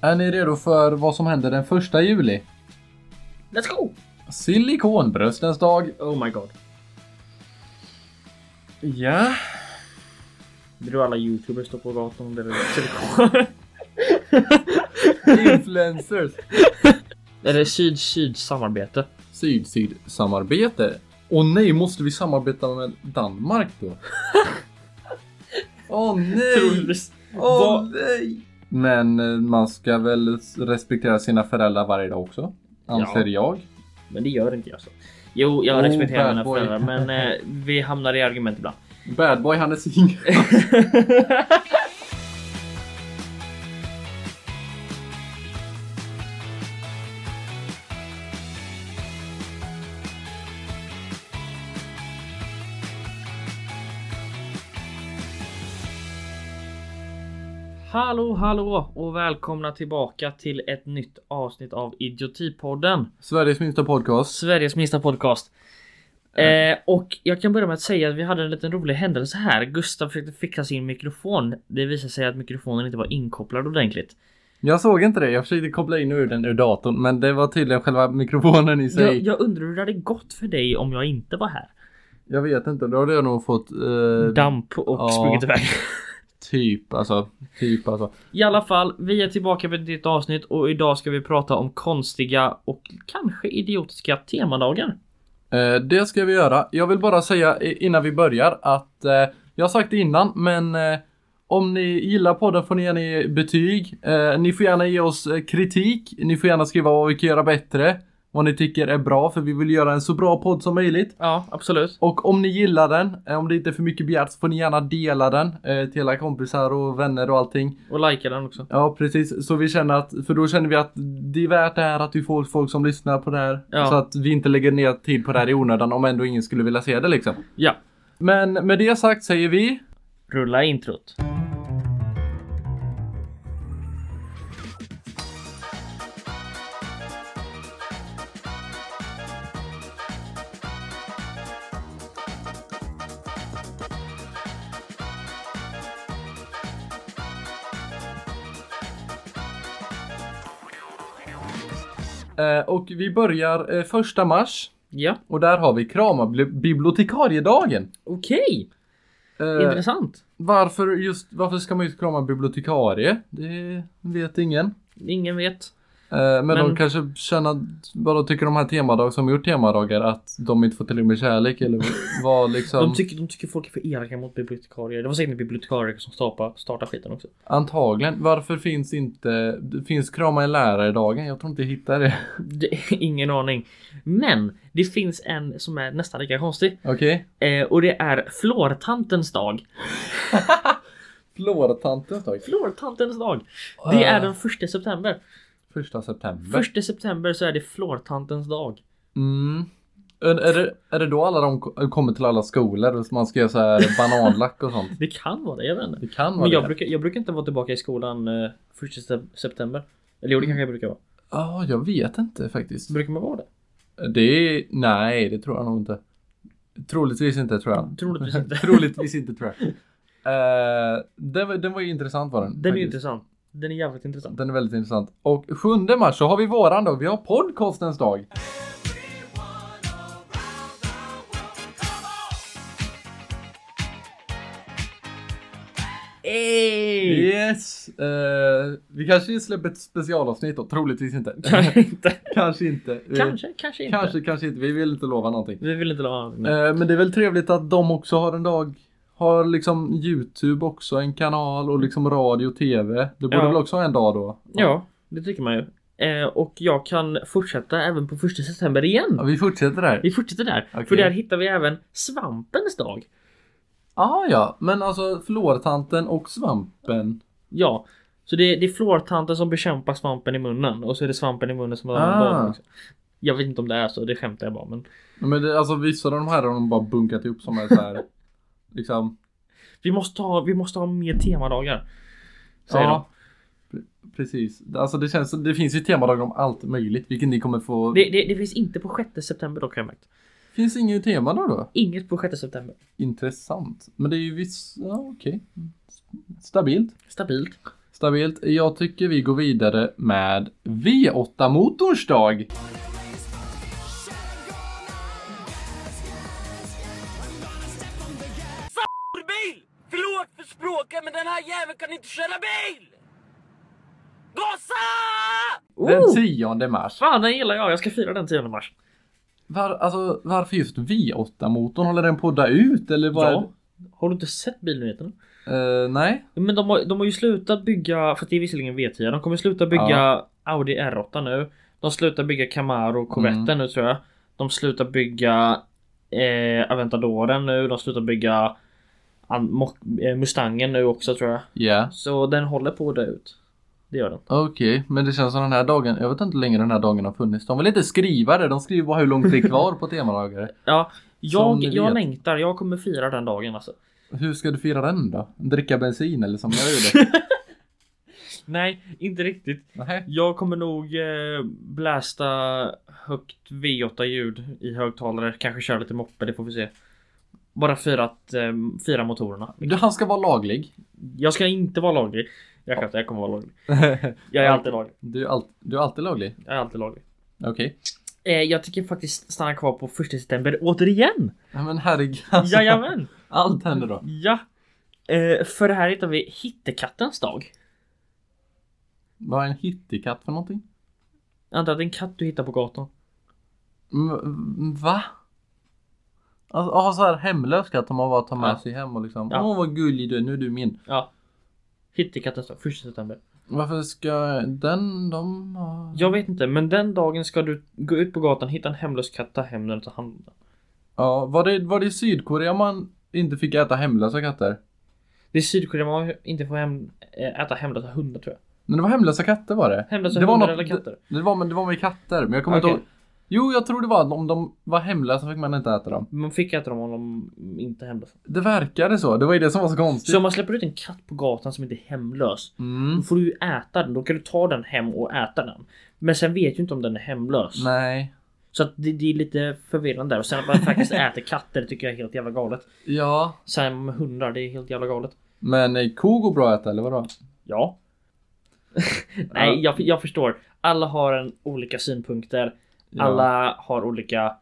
Är ni redo för vad som händer den första juli? Let's go! Silikonbröstens dag. Oh my god. Ja. Det är då alla youtubers står på gatan och delar ut silikon. Influencers. Eller syd-syd samarbete. Syd-syd samarbete. Och nej, måste vi samarbeta med Danmark då? Åh nej! Troligtvis. Åh Vad- nej! Men eh, man ska väl s- respektera sina föräldrar varje dag också? Anser jag. Men det gör inte jag så. Jo, jag Oh, respekterar bad mina boy. föräldrar men eh, vi hamnar i argument ibland. Badboy han är singel. hallå, hallå och välkomna tillbaka till ett nytt avsnitt av Idiotipodden. Sveriges minsta podcast. Sveriges minsta podcast. Eh, och jag kan börja med att säga att vi hade en liten rolig händelse här. Gustav försökte fixa sin mikrofon. Det visade sig att mikrofonen inte var inkopplad ordentligt. Jag såg inte det. Jag försökte koppla in och ur den ur datorn, men det var tydligen själva mikrofonen i sig. Jag, jag undrar hur det hade gått för dig om jag inte var här. Jag vet inte, då hade jag nog fått eh, Damp och ja. sprungit iväg. typ alltså, typ alltså. I alla fall, vi är tillbaka med ett nytt avsnitt och idag ska vi prata om konstiga och kanske idiotiska temadagar. Eh, det ska vi göra. Jag vill bara säga i- innan vi börjar att eh, jag har sagt det innan, men eh, om ni gillar podden får ni gärna ge betyg. Eh, ni får gärna ge oss eh, kritik. Ni får gärna skriva vad vi kan göra bättre. Vad ni tycker är bra, för vi vill göra en så bra podd som möjligt. Ja, absolut. Och om ni gillar den, eh, om det inte är för mycket begärt så får ni gärna dela den eh, till era kompisar och vänner och allting. Och likea den också. Ja precis, så vi känner att, för då känner vi att det är värt det här att vi får folk som lyssnar på det här. Ja. Så att vi inte lägger ner tid på det här i onödan om ändå ingen skulle vilja se det liksom. Ja, Men med det sagt säger vi rulla introt. eh, och vi börjar eh, första mars Ja, och där har vi krama bibliotekariedagen. okej. Eh, Intressant. varför just, varför ska man just krama bibliotekarie? Det vet ingen. Ingen vet. Eh, Men, Men- de kanske känner, vad tycker de här temadag som gjort temadagar att de inte får tillräckligt med kärlek eller vad liksom De tycker, de tycker folk är för elaka mot bibliotekarier. Det var säkert en bibliotekarie som startade, startade skiten också. Antagligen. Varför finns inte, finns krama en lärare-dagen? Jag tror inte jag hittar det. Det, ingen aning. Men det finns en som är nästan lika konstig. Okej. Eh, och det är flortantens dag. Flortantens dag. Flortantens dag. Äh. Det är den första september. Första september. Första september så är det flortantens dag. Mm. Är, är, det, är det då alla de ko- kommer till alla skolor och man ska göra så här bananlack och sånt? Det kan vara det, jag vet inte. Det kan vara Men jag det. brukar, jag brukar inte vara tillbaka i skolan eh, första sep- september. Eller jo, det kanske jag brukar vara. Ja, jag vet inte faktiskt. Brukar man vara det? Det är, nej det tror jag nog inte. Troligtvis inte tror jag. Troligtvis inte. Troligtvis inte tror jag. Eh, den, var, den var ju intressant var den. Den är ju faktiskt. intressant. Den är jävligt intressant. Den är väldigt intressant. Och 7 mars så har vi våran dag. Vi har podcastens dag. Ey! Yes! Eh, vi kanske släpper ett specialavsnitt då. Troligtvis inte. Kanske inte. kanske inte. Eh, Kanske, kanske inte. Kanske, kanske inte. Vi vill inte lova någonting. Vi vill inte ha någonting. med. Eh, men det är väl trevligt att de också har en dag. Har liksom Youtube också en kanal och liksom radio och TV. Du borde Ja. väl också ha en dag då? Ja, det tycker man ju. Eh, och jag kan fortsätta även på första september igen. Ja, vi fortsätter där. Vi fortsätter där. Okej. För där hittar vi även svampens dag. Ah, ja, men alltså flortanten och svampen. Ja. Så det, det är flortanten som bekämpar svampen i munnen och så är det svampen i munnen som har Ah. barn också. Jag vet inte om det är så, det skämtar jag bara men. Ja, Men det, alltså vissa av de här har de bara bunkat ihop som är så här. liksom. Vi måste ha, vi måste ha mer temadagar. Säger de. pre- Precis. Alltså det känns som- det finns ju temadagar om allt möjligt, vilket ni kommer få. Det, det, det finns inte på 6 september dock har jag märkt. Finns ingen tema då då? Inget på 6 september. Intressant. Men det är ju vissa, ja, okej. Stabilt. Stabilt. Stabilt. Jag tycker vi går vidare med V8-motorns dag. bil! Förlåt för språket men den här jäveln kan inte köra bil! Gossa! Den Oh! 10 mars. Fan den gillar jag, jag ska fira den 10 mars. Var, alltså, varför just V8-motorn? Håller den på att dö ut eller vad? Ja. Har du inte sett bilnyheterna? Eh, nej. Men de har, de har ju slutat bygga, för det är visserligen V10, de kommer sluta bygga Audi R8 nu. De slutar bygga Camaro Corvette Mm. nu tror jag. De slutar bygga eh, Aventadoren nu, de slutar bygga An- Mo- eh, Mustangen nu också tror jag. Ja. Så den håller på att dö ut. Det gör den. Okej, men det känns som den här dagen, jag vet inte hur länge den här dagen har funnits. De vill inte skriva det, de skriver bara hur långt det är kvar på temadagar. Ja, Som jag, ni jag vet. längtar, jag kommer fira den dagen alltså. Hur ska du fira den då? Dricka bensin eller som jag gjorde? Nej, inte riktigt. Nej. Jag kommer nog eh, blästa högt V8 ljud i högtalare, kanske köra lite moppe, det får vi se. Bara fira att eh, fira motorerna. Du, han ska vara laglig. Jag ska inte vara laglig. Jag skämtar, jag kommer vara laglig. Jag är alltid laglig. Du är, all, du är alltid laglig? Jag är alltid laglig. Okej. Eh, jag tycker faktiskt stanna kvar på 1 september återigen. Nej, Men herregud. Alltså, Jajamän! allt händer då. Ja! Eh, för här hittar vi hittekattens dag. Vad är en hittikatt för någonting? Jag antar att det är en katt du hittar på gatan. Mm, va? Alltså, aha, så här hemlös katt som man bara tar med Ja. sig hem och liksom. Ja. Åh vad gullig du är, nu är du min. Ja. Hittekattens dag, 1 september. Varför ska den, de... ha- Jag vet inte, men den dagen ska du gå ut på gatan, hitta en hemlös katt, ta hem den och ta hand om den. Ja, var det, var det i Sydkorea man inte fick äta hemlösa katter? Det är Sydkorea man inte får hem, äh, äta hemlösa hundar tror jag. Men det var hemlösa katter var det? Hemlösa det var hundar något- eller katter? Det, det, var, men det var med katter, men jag kommer Okej. inte ihåg. Jo, jag tror det var att om de var hemlösa fick man inte äta dem. Man fick äta dem om de inte är hemlösa. Det verkade så, det var ju det som var så konstigt. Så om man släpper ut en katt på gatan som inte är hemlös, Mm. då får du ju äta den. Då kan du ta den hem och äta den. Men sen vet du inte om den är hemlös. Nej. Så att det, det är lite förvirrande där. Och sen att man faktiskt äter katter det tycker jag är helt jävla galet. Ja. Sen med hundar, det är helt jävla galet. Men eh, ko går bra att äta, eller vadå? Ja. Nej, jag, jag förstår. Alla har en olika synpunkter. Ja. Alla har olika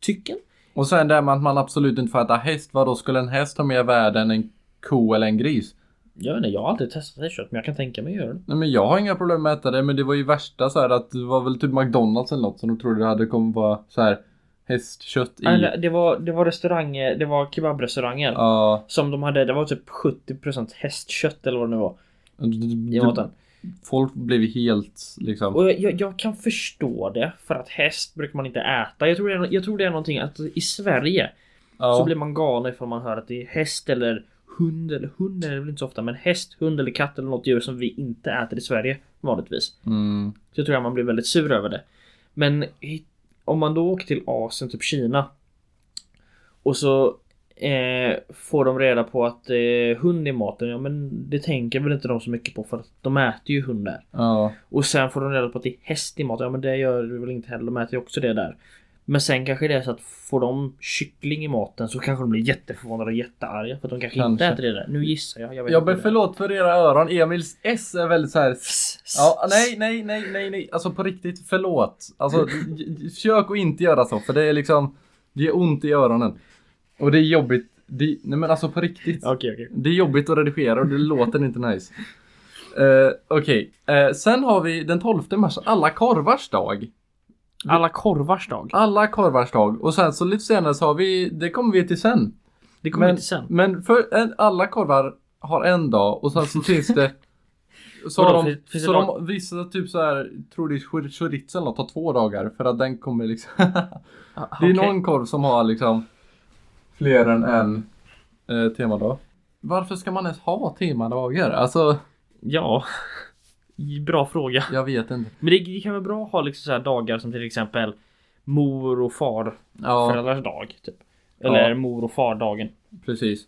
tycken. Och sen det här med att man absolut inte får äta häst, vadå skulle en häst ha mer värde än en ko eller en gris? Jag vet inte, jag har aldrig testat det kött men jag kan tänka mig att göra det. Nej men jag har inga problem med att äta det, men det var ju värsta så här att det var väl typ McDonalds eller något som de trodde det hade kommit vara så här hästkött i. Eller, det var, det var restauranger, det var kebabrestauranger. Ja. Som de hade, det var typ 70% hästkött eller vad det nu var. I maten. Folk blev helt liksom... Och jag- jag, jag kan förstå det för att häst brukar man inte äta. Jag tror det är, jag tror det är någonting att i Sverige så Ja. blir man galen ifall man hör att det är häst eller hund eller hund är det väl inte så ofta men häst, hund eller katt eller något djur som vi inte äter i Sverige vanligtvis. Mm. Så jag tror att man blir väldigt sur över det. Men hit- om man då åker till Asien, typ Kina. Och så eh, får de reda på att eh, hund i maten, ja men det tänker väl inte de så mycket på för att de äter ju hund där. Ja. Och sen får de reda på att det är häst i maten, ja men det gör du väl inte heller, de äter ju också det där. Men sen kanske det är så att får de kyckling i maten så kanske de blir jätteförvånade och jättearga för att de kanske, Kanske. inte äter det där. Nu gissar jag. Jag, vet Jag inte ber hur det är. förlåt för era öron. Emils S är väldigt så här. Ja, nej, nej, nej, nej, nej. Alltså på riktigt, förlåt. Alltså, j- j- försök att inte göra så, för det är liksom... Det gör ont i öronen. Och det är jobbigt. Det, nej men alltså på riktigt. Okej, okej. Det är jobbigt att redigera och det låter inte nice. Eh, Okej, Eh, sen har vi den 12 mars, alla korvars dag. Alla korvars dag. Alla korvars dag. Och sen så lite senare så har vi, det kommer vi till sen. Det kommer Men- inte sen. Men för en, alla korvar har en dag och sen så finns det Så Vadå, har de, finns- finns det så de vissa typ så här tror det är chor- chorizo eller något, tar två dagar för att den kommer liksom Ah, Det är okej. någon korv som har liksom fler än en eh, temadag. Varför ska man ens ha temadagar? Alltså, Ja. Bra fråga. jag vet inte. Men det, det kan vara bra att ha liksom så här dagar som till exempel mor och far Ja, föräldrars dag. Typ. Eller Ja. mor och fardagen. precis.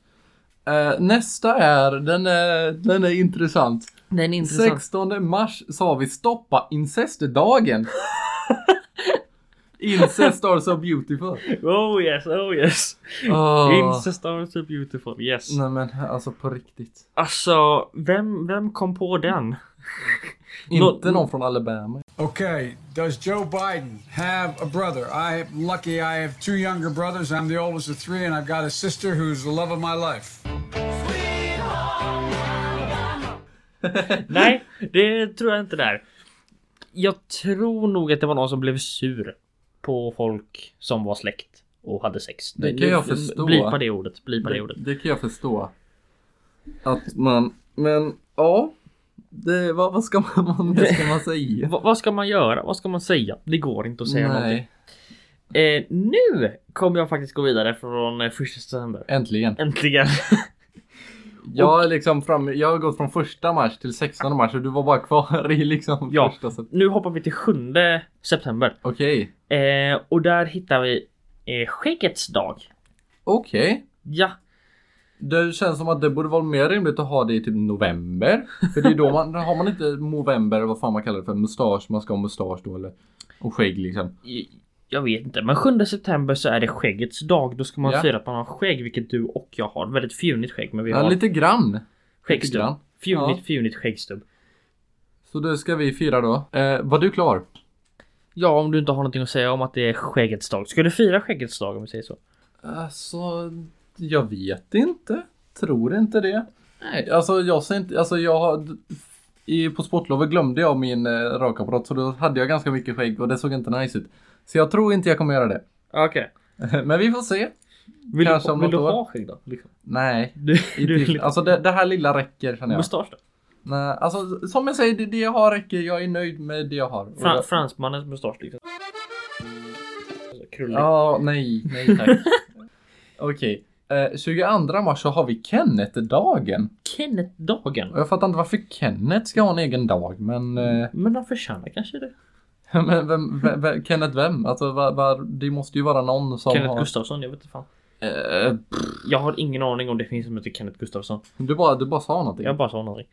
Eh, nästa är, den är, den är intressant. Den är 16 mars sa vi stoppa incestdagen. Incest are so beautiful. Oh yes, oh yes. Ah. Åh. Incest are so beautiful, yes. Nej men alltså på riktigt. Alltså, vem, vem kom på den? Inte Nå- någon från Alabama. Okay, does Joe Biden have a brother? I'm lucky I have two younger brothers. I'm the oldest of three, and I've got a sister who's the love of my life. Nej, det tror jag inte där. Jag tror nog att det var någon som blev sur på folk som var släkt och hade sex. Det kan Nu- jag förstå. Blipa det ordet, blipa det Det, ordet. det kan jag förstå. Att man, men ja. Det, vad, vad, ska man, vad ska man säga? Va, vad ska man göra? Vad ska man säga? Det går inte att säga någonting. Nej, Eh, nu kommer jag faktiskt gå vidare från eh, första december. äntligen. Äntligen. Jag, är liksom fram, jag har gått från första mars till 16 mars och du var bara kvar i liksom Ja. första. så- Nu hoppar vi till 7 september. Okej, Eh, och där hittar vi eh, skäggets dag. okej. Ja, Det känns som att det borde vara mer rimligt att ha det i typ november. För det är då man, har man inte november, vad fan man kallar det för, mustasch, man ska ha mustasch då eller och skägg liksom. i- jag vet inte, men 7 september så är det skäggets dag. Då ska man Ja. fira att man har skägg, vilket du och jag har. Väldigt fjunigt skägg, men vi Ja, har lite grann. lite skäggstubb. grann. Fjunigt, Ja. fjunigt skäggstubb. Så det ska vi fira då. Eh, var du klar? Ja, om du inte har någonting att säga om att det är skäggets dag. Ska du fira skäggets dag om vi säger så? Alltså, jag vet inte. Tror inte det. Nej, alltså jag ser inte, alltså jag har i, på sportlovet glömde jag min eh, rakapparat så då hade jag ganska mycket skägg och det såg inte nice ut. Så jag tror inte jag kommer göra det. Okej. Men vi får se. Vill, Kanske du, om vill du något år. ha skägg då? Liksom? Nej. Du, I du, tyst. Alltså det, det här lilla räcker känner jag. Mustasch då? Nej, alltså som jag säger, det, det jag har räcker. Jag är nöjd med det jag har. Och Fra, jag- fransmannens mustasch liksom. Krullig. Ja, nej, nej tack. Okej. Eh, 22 mars så har vi Kenneth-dagen. Kenneth-dagen. Och jag fattar inte varför Kenneth ska ha en egen dag, men... Eh, Men han förtjänar kanske det. men vem, vem, vem, Kenneth vem? Alltså, va, va, det måste ju vara någon som Kenneth har... Gustafsson, jag vet inte fan. Eh, pff, Jag har ingen aning om det finns som heter Kenneth Gustafsson. du, bara, du bara sa någonting. Jag bara sa någonting.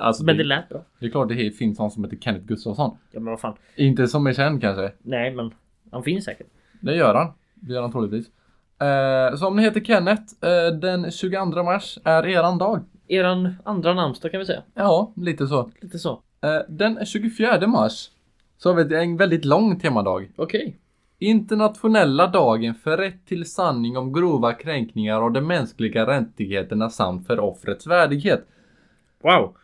Alltså, Men det, det lät bra. det är klart det finns någon som heter Kenneth Gustafsson. Ja men vad fan. Inte som är känd kanske. Nej men han finns säkert. Det gör han. Det gör han troligtvis. Eh, så om ni heter Kenneth, eh, den 22 mars är eran dag. Eran andra namnsdag kan vi säga. Ja, lite så. Lite så. Eh, den 24 mars så har vi en väldigt lång temadag. Okej. Internationella dagen för rätt till sanning om grova kränkningar av de mänskliga rättigheterna samt för offrets värdighet. Wow.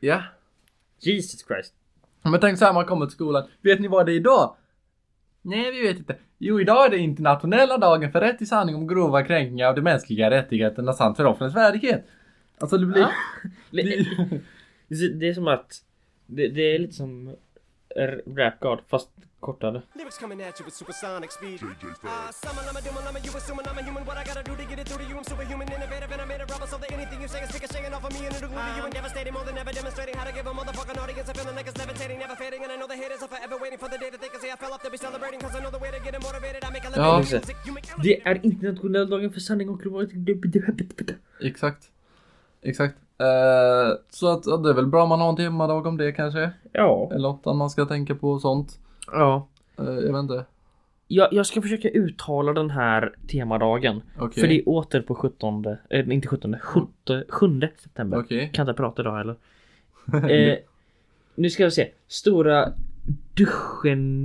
Ja. Jesus Christ. Men tänk så här, man kommer till skolan. Vet ni vad det är idag? Nej, vi vet inte. Jo, idag är det internationella dagen för rätt till sanning om grova kränkningar av de mänskliga rättigheterna samt för offrens värdighet. Alltså det blir... Ja. det, Det, det- det är som att det, det är lite som R- Rap God fast kortare. Lyrics coming at you with supersonic speed. Ah, summer, llama, doom, llama, you assuming I'm a human. What I gotta do to get it through to you? I'm superhuman, innovative, and I made a rubber so that anything you say is ricocheting off of me and it'll glue to you and devastating. More than ever demonstrating how to give a motherfucking audience a feeling like it's levitating, never fading. And I know the haters are forever waiting for the day that they can say I fell off. They'll be celebrating because I know the way to get 'em motivated. I make a Ja. living music. You make Det är internationella dagen för sanning och grovt. Exakt. Exakt. Eh, så att ja, det är väl bra om man har en temadag om det kanske. Ja. Eller något annat man ska tänka på och sånt. Ja. Eh, jag vet inte. Jag, jag ska försöka uttala den här temadagen. Okej. För det är åter på 17, eh, inte 17, 17, 7 september. Okej. Kan inte prata idag heller. Eh, nu ska vi se. Stora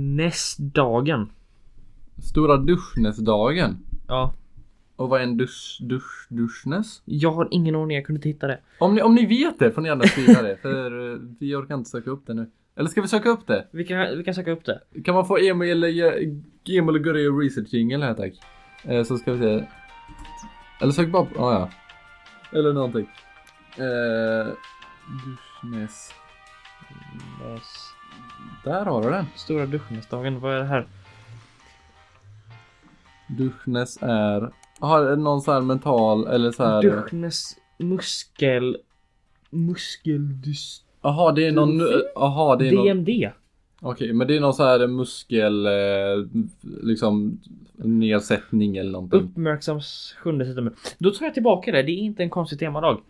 duschenäsdagen. Stora duschnäsdagen. Ja. Och vad är en dusch, dusch, duschnäs? Jag har ingen aning, jag kunde inte hitta det. Om ni, om ni vet det får ni gärna skriva det. För eh, vi orkar inte söka upp det nu. Eller ska vi söka upp det? Vi kan, vi kan söka upp det. Kan man få Emil, eh, Emil och Gurra och research jingle här tack. Eh, så ska vi se. Eller sök bara på, ah, ja. Eller någonting. Eh, duschnäs. Näs- Där har du den. Stora duschenäsdagen, vad är det här? Duschnäs är... Har någon så här mental eller så här... Duschnäs muskel... Muskeldys... Jaha, det är någon... Dufi? Jaha, det är någon... DMD. Okej, men det är någon så här muskel... Eh, liksom... Nedsättning eller Mm. någonting. Uppmärksams 7 september. Då tar jag tillbaka det, det är inte en konstig temadag.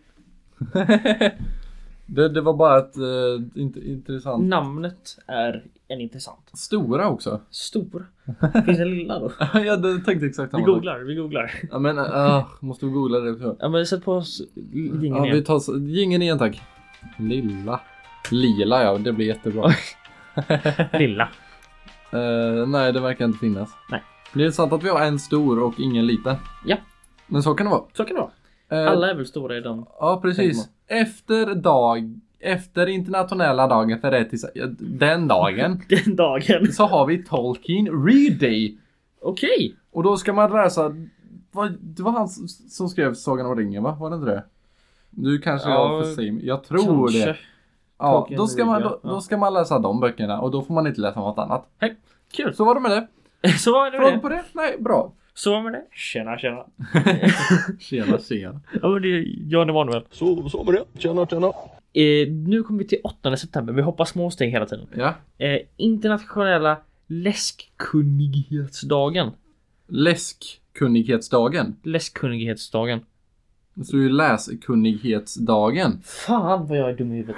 Det, det var bara ett eh, int, intressant. Mm. Namnet är en intressant. Stora också. Stor. Finns det en lilla då? jag tänkte exakt Vi samma sak. googlar, vi googlar. Ja, men ah, måste vi googla det tror jag. Ja men sätt på oss Ja, jingeln vi igen. tar så- ingen igen tack. Lilla. Lila ja, det blir jättebra. Lilla. Eh, nej, det verkar inte finnas. Nej. Det är sant att vi har en stor och ingen liten. Ja. Men så kan det vara. Så kan det vara. Eh, Alla är väl stora i den. Ja, precis. Efter dag... Efter internationella dagen för rätt till... ja, Den dagen Den dagen. så har vi Tolkien Read Day. Okej. Och då ska man läsa... Vad, det var han som- som skrev Sagan om ringen va? Var det inte det? Nu kanske Ja, jag för sim. Jag tror det. Ja, Tolkien då, ska man, Read, då, ja. då ska man läsa de böckerna och då får man inte läsa något annat. Hej. Kul. Så var det med det. Så var det Frågor med på det. det? Nej, bra. Så var det med det. Tjena tjena. Tjena, tjena. Ja men det är Jan Emanuel. Så, så var det. Tjena, tjena. Eh, nu kommer vi till 8 september. Vi hoppar små steg hela tiden. Ja. Eh, internationella läskkunnighetsdagen. Läskkunnighetsdagen. Läskkunnighetsdagen. Det står ju läskunnighetsdagen. Fan vad jag är dum i huvudet.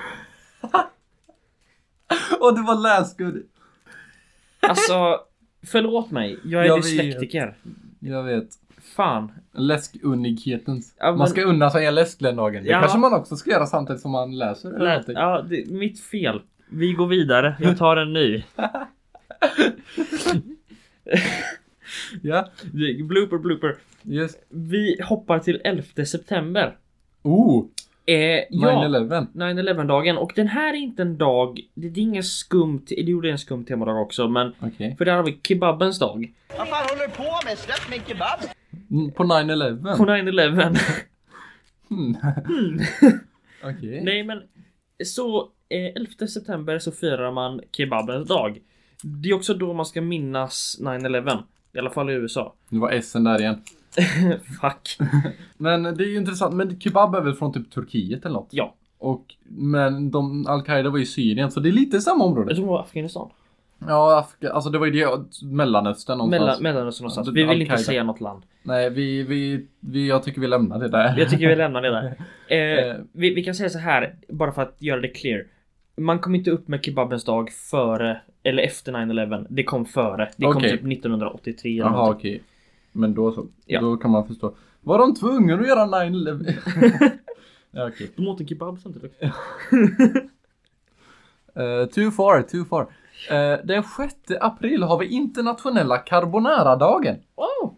Och det var läskunnig. Alltså, förlåt mig. Jag är Jag vet. dyslektiker. Jag vet. Fan. Läskunnighetens. Ja, men- Man ska unna sig en läsk den dagen. Det Ja. kanske man också ska göra samtidigt som man läser. eller Lät, någonting. ja, det, mitt fel. Vi går vidare. Jag tar en ny. Ja, Blooper, blooper. just. Vi hoppar till 11 september. Oh! Eh, 9-11. ja, 9-11 dagen. Och den här är inte en dag. Det, det är ingen skumt. Det gjorde en skum temadag också, men Okej. för där har vi kebabens dag. Vad fan håller du på med? Släpp min kebab! Mm, På 9-11? På 9-11. Mm. Okej. Nej, men så eh, 11 september så firar man kebabens dag. Det är också då man ska minnas 9-11. I alla fall i USA. Det var S'en där igen. Fuck. Men det är ju intressant. Men kebab är väl från typ Turkiet eller något? Ja. Och, men de, Al-Qaida var ju i Syrien så det är lite samma Jag område. tror det var Afghanistan. Ja, Afga, alltså det var ju det, Mellanöstern någonstans. Mellan, Mellanöstern någonstans. Ja, Vi vill inte Al-Qaida. säga något land. Nej, vi, vi, vi, jag tycker vi lämnar det där. Jag tycker vi lämnar det där. Eh. Eh, vi, vi kan säga så här, bara för att göra det clear. Man kom inte upp med kebabens dag före eller efter 9-11. Det kom före. Det kom Okej. typ 1983 eller Jaha, någonting. okej. Men då så. Ja. Då kan man förstå. Var de tvungna att göra 9-11? ja, okej. De åt en kebab samtidigt. Eh, too far, too far. Eh, den 6 april har vi internationella carbonara-dagen. Oh,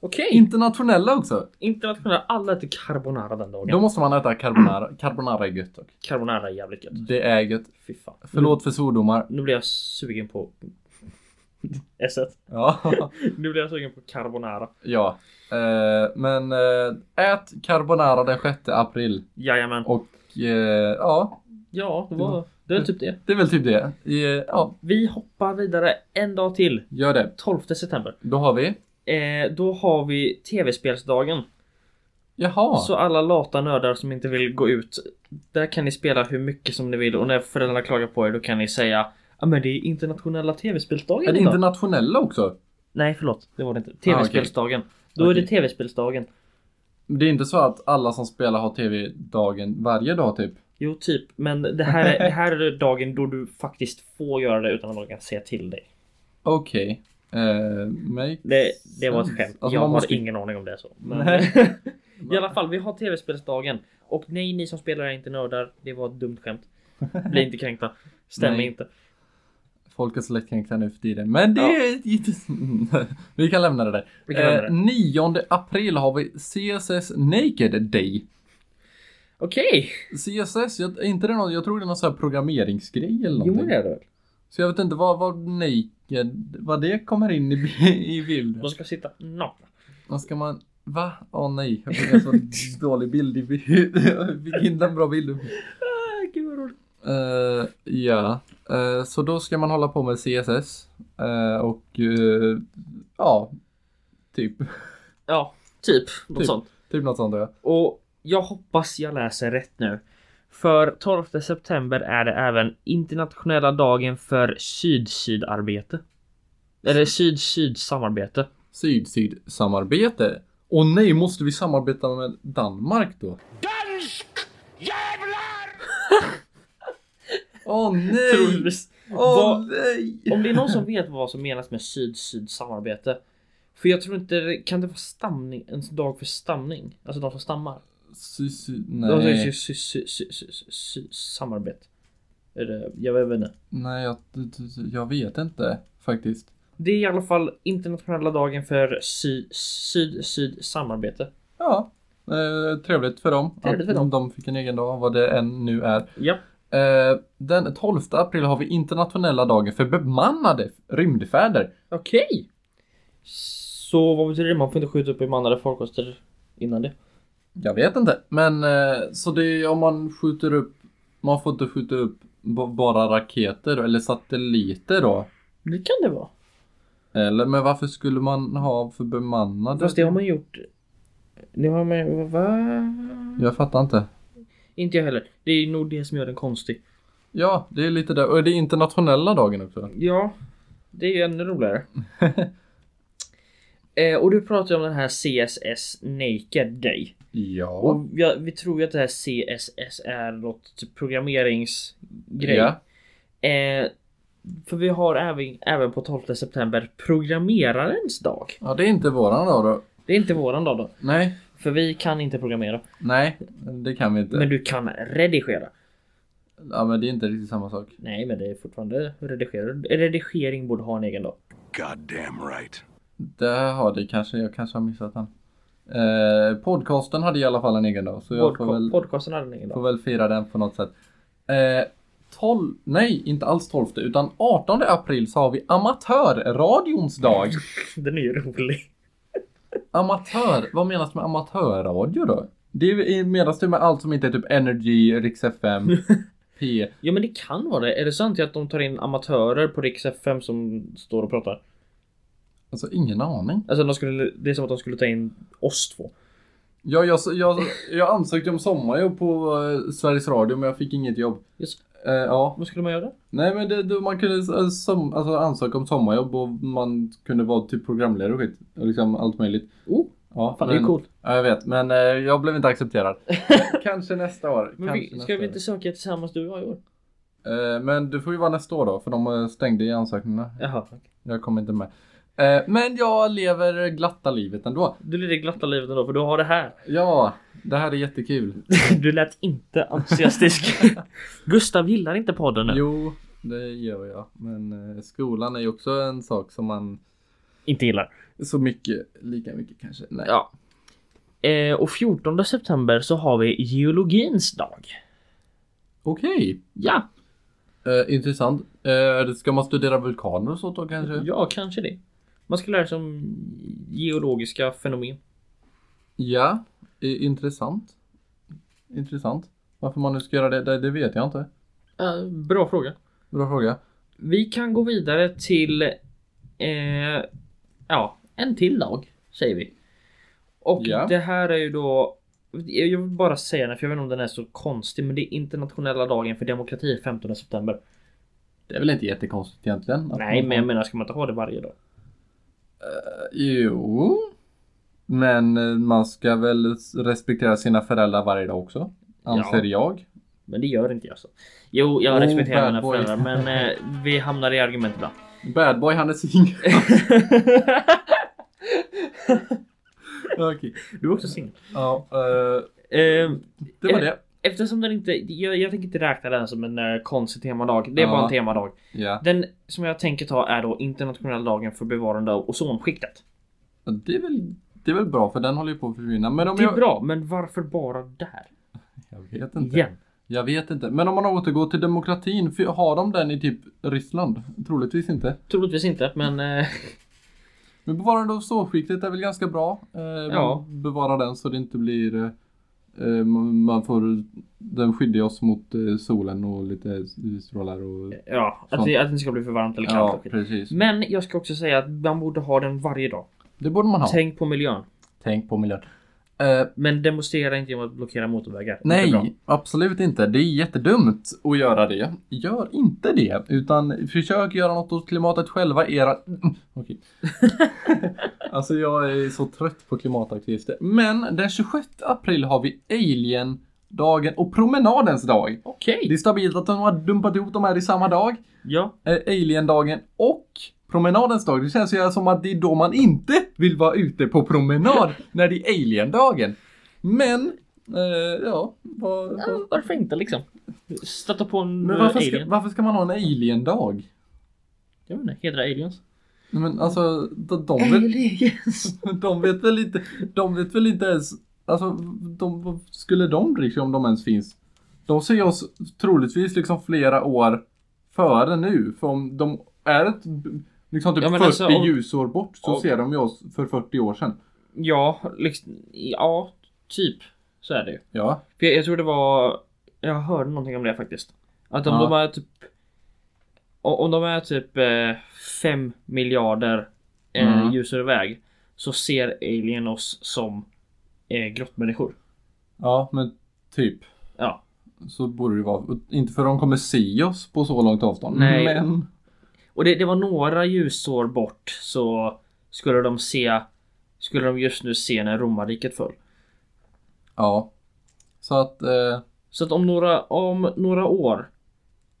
Okej! Internationella också. Internationella, alla äter carbonara den dagen. Då måste man äta carbonara. Carbonara är gött dock. Carbonara är jävligt gött. Det är gött. Fy fan. Förlåt för svordomar. Nu, nu blir jag sugen på... S1. Ja. Nu blir jag sugen på carbonara. ja. Eh, men eh, ät carbonara den 6 april. Jajamän. Och eh, ja, Ja, det var, det var typ det. det är väl typ det. Eh, ja, Vi hoppar vidare en dag till. gör det. 12 september. Då har vi. Eh, då har vi tv-spelsdagen. Jaha. Så alla lata nördar som inte vill gå ut. Där kan ni spela hur mycket som ni vill och när föräldrarna klagar på er då kan ni säga Ja men det är internationella tv-spelsdagen Är det idag." internationella också? Nej förlåt, det var det inte. TV-spelsdagen. Då är det Okej. tv-spelsdagen. Det är inte så att alla som spelar har tv-dagen varje dag typ? Jo typ, men det här, är, det här är dagen då du faktiskt får göra det utan att någon kan säga till dig. Okej. Eh, make Det, det var ett sense. skämt. Alltså, jag man har måste- ingen aning om det så. Men... eh, Nej. I alla fall, vi har tv-spelsdagen. Och nej, ni som spelar är inte nördar. Det var ett dumt skämt. Bli inte kränkta. Stämmer Nej. inte. Folk är så lättkränkta nu för tiden. Men det är inte... Vi kan lämna det där. Vi kan lämna det. 9 april har vi CSS Naked Day. Okej! CSS, jag, är inte det någon, jag tror det är någon sån här programmeringsgrej eller Jo, någonting. det är det väl. Så jag vet inte vad, vad naked, vad det kommer in i, bi- i bilden. De ska sitta nakna. Vad ska man... Va? Åh nej, jag fick en sån dålig bild i bild. Jag fick inte en bra bild. Äh, Ah, gud vad roligt. Eh, ja, Eh, så då ska man hålla på med CSS. eh, och eh, ja, typ. Ja, typ. Något Typ. sånt. Typ något sånt ja. Och jag hoppas jag läser rätt nu. För 12 september är det även internationella dagen för syd-syd-arbete. Eller syd-syd-samarbete. Syd-syd-samarbete. Och nej, måste vi samarbeta med Danmark då? Dansk jävlar! Åh nej! Troligtvis. Åh Vad- nej! Om det är någon som vet vad som menas med syd-syd samarbete. För jag tror inte, kan det vara stamning, en dag för stamning? Alltså de som stammar? Sy, sy, De säger ju nej. sy, sy, sy, sy, sy, sy, samarbete. Eller, jag vet inte. Nej, jag, jag vet inte faktiskt. Det är i alla fall internationella dagen för sy- syd-syd samarbete. Ja. Eh, trevligt för dem Trevligt att för dem. de fick en egen dag, vad det än nu är. Ja. Eh, den 12 april har vi internationella dagen för bemannade rymdfärder. Okej. Så vad betyder det? Man får inte skjuta upp bemannade farkoster innan det. Jag vet inte, men eh, så det är om man skjuter upp, man får inte skjuta upp b- bara raketer eller satelliter då. Det kan det vara. Eller men varför skulle man ha för bemannade? Fast det har man gjort. Det har man va? Jag fattar inte. Inte jag heller. Det är nog det som gör den konstig. Ja, det är lite där. Och det är internationella dagen också. Ja, det är ju ännu roligare. eh, och du pratar ju om den här CSS Naked Day. Ja. Och jag, vi tror ju att det här CSS är något typ programmeringsgrej. Ja. Eh, för vi har även, även på 12 september programmerarens dag. Ja, det är inte våran dag då. Det är inte våran dag då. Nej, För vi kan inte programmera. nej, det kan vi inte. Men du kan redigera. Ja, men det är inte riktigt samma sak. Nej men det är fortfarande redigera. Redigering borde ha en egen dag. Goddamn right. Där har det kanske, jag kanske har missat den. Eh, podcasten hade i alla fall en egen dag, så jag får Podca- väl, Podcasten hade en egen får dag. väl fira den på något sätt. Eh, 12, nej, inte alls 12 utan 18 april så har vi amatörradions dag. Den är ju rolig. Amatör, vad menas med amatörradio då? Det är- menas det med allt som inte är typ Energy, Rix FM, P. E. Ja men det kan vara det. Är det sant att de tar in amatörer på Rix FM som står och pratar? Alltså ingen aning. Alltså de skulle, det är som att de skulle ta in oss två. Ja, jag, jag, jag ansökte om sommarjobb på eh, Sveriges Radio men jag fick inget jobb. Just. Eh, ja. Vad skulle man göra? Nej men det, det, man kunde eh, som, alltså, ansöka om sommarjobb och man kunde vara typ programledare och skit. Och Liksom allt möjligt. Oh, Ja, fan men, det är ju coolt. Ja, jag vet. Men eh, jag blev inte accepterad. Kanske nästa år. Men kanske vi, nästa ska vi år. inte söka tillsammans du och jag i år? Eh, men du får ju vara nästa år då för de eh, stängde i ansökningarna. Jaha. Jag kommer inte med. Eh, men jag lever glatta livet ändå. Du lever det glatta livet ändå för du har det här. Ja, det här är jättekul. Du lät inte entusiastisk. Gustav gillar inte podden nu. Jo, det gör jag. Men eh, skolan är ju också en sak som man Inte gillar. så mycket, lika mycket kanske. Nej. Ja. Eh, och 14 september så har vi geologins dag. Okej. Ja, Eh, intressant. Eh, ska man studera vulkaner och sånt då kanske? ja kanske det. Man ska lära sig om geologiska fenomen. Ja. Eh, intressant. Intressant. Varför man nu ska göra det, det, det vet jag inte. Eh, bra fråga. Bra fråga. Vi kan gå vidare till eh, ja, en till dag säger vi. Och Ja. det här är ju då jag vill bara säga den för jag vet inte om den är så konstig men det är internationella dagen för demokrati 15 september. Det är väl inte jättekonstigt egentligen? att Nej man- men jag menar ska man inte ha det varje dag? Jo. Men eh, man ska väl s- respektera sina föräldrar varje dag också? Anser jag. Men det gör inte jag så. Jo jag Oh, respekterar bad mina boy. föräldrar men eh, vi hamnar i argument ibland. Badboy han är singel. Okej. du är också singel. Ja, eh, Eh, det var Eh, det. eftersom den inte, jag, jag tänker inte räkna den som en eh, konstig temadag. Det är Ja. bara en temadag. Ja. Den som jag tänker ta är då internationella dagen för bevarande av ozonskiktet. Det är, väl, det är väl bra för den håller ju på att försvinna. Men om Det är jag... bra, men varför bara där? Jag vet inte. Igen. Jag vet inte. Men om man återgår till demokratin, för har de den i typ Ryssland? Troligtvis inte. Troligtvis inte, men eh, Men bevarande av sårskiktet är väl ganska bra. Eh, Ja. Man bevarar den så det inte blir... eh, Eh, man man får... Den skyddar oss mot eh, solen och lite strålar och... ja, att Sånt. det, att det inte ska bli för varmt eller kallt. Ja, och skit. precis. men jag ska också säga att man borde ha den varje dag. Det borde man ha. Tänk, Tänk på miljön. på miljön. Eh, Men demonstrera inte genom att blockera motorvägar. Inte bra. Nej, absolut inte. Det är jättedumt att göra det. Gör inte det, utan försök göra något åt klimatet själva. Era... Mm, Okej. alltså jag är så trött på klimataktivister. Men den 26 april har vi Alien dagen och promenadens dag. Okej. Det är stabilt att de har dumpat ihop de här i samma dag. Ja. Eh, Alien-dagen och promenadens dag. Det känns ju som att det är då man inte vill vara ute på promenad när det är Alien-dagen. Men, eh, ja, vad, vad, Ja, Varför inte liksom? Stötta på en men eh, varför, ska, alien. varför ska man ha en Alien-dag? Jag vet inte, hedra aliens. Nej, Men alltså, de, de, vet, de vet väl inte, de vet väl inte ens, alltså, de, vad skulle de bry sig om de ens finns? De ser oss troligtvis liksom flera år före nu, för om de är ett, liksom typ Ja, men 40 alltså, om- ljusår bort så om- ser de ju oss för 40 år sedan. Ja, liksom, ja, typ. Så är det ju. Ja, För jag, jag tror det var, jag hörde någonting om det faktiskt. Att om Ja. de är typ o- Om de är typ 5 miljarder eh, Mm. ljusår iväg så ser alien oss som eh, grottmänniskor. ja men typ. Ja. Så borde det vara. Inte för de kommer se oss på så långt avstånd. Nej. Men, Och det, det var några ljusår bort så skulle de se Skulle de just nu se när romarriket föll. ja. Så att, eh, Så att om några, om några år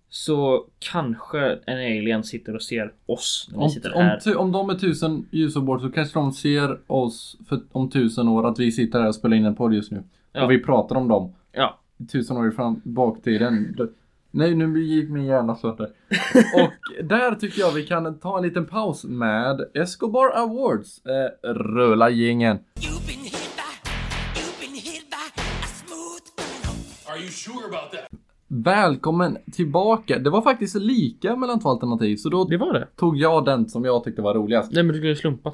så kanske en alien sitter och ser oss när vi Om, sitter om, här. tu, om de är tusen ljusår bort så kanske de ser oss för, om tusen år att vi sitter här och spelar in en podd just nu. Ja. Och vi pratar om dem. Ja. Tusen år fram baktiden. D- Nej, nu gick min hjärna sönder. Och där tycker jag vi kan ta en liten paus med Escobar Awards. Eh, rulla gingen. You've been hit by, you've been hit by a smooth criminal. Välkommen tillbaka. Det var faktiskt lika mellan två alternativ, så då Det var det. tog jag den som jag tyckte var roligast. Nej men du skulle slumpa.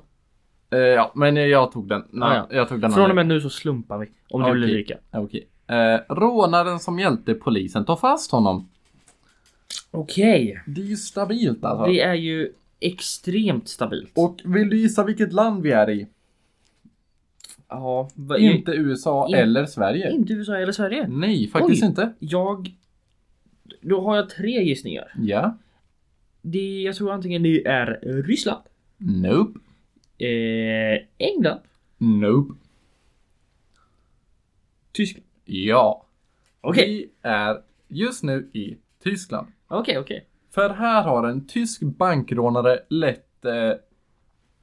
Eh, ja, men jag tog den. Nej, Ja, ja. jag tog den Från andra. och med nu så slumpar vi. Om det Okej. blir lika. Okej. Eh, rånaren som hjälpte polisen tar fast honom. Okej. Det är ju stabilt alltså. Det är ju extremt stabilt. Och vill du gissa vilket land vi är i? ja, va, Inte USA in- eller Sverige. inte USA eller Sverige. Nej, faktiskt Oj. inte. Jag... Då har jag tre gissningar. Ja. Det, jag tror antingen det är Ryssland, Nope. eh, England, Nope. Tyskland. Ja. Okej, Vi är just nu i Tyskland. okej, okej. För här har en tysk bankrånare lett eh,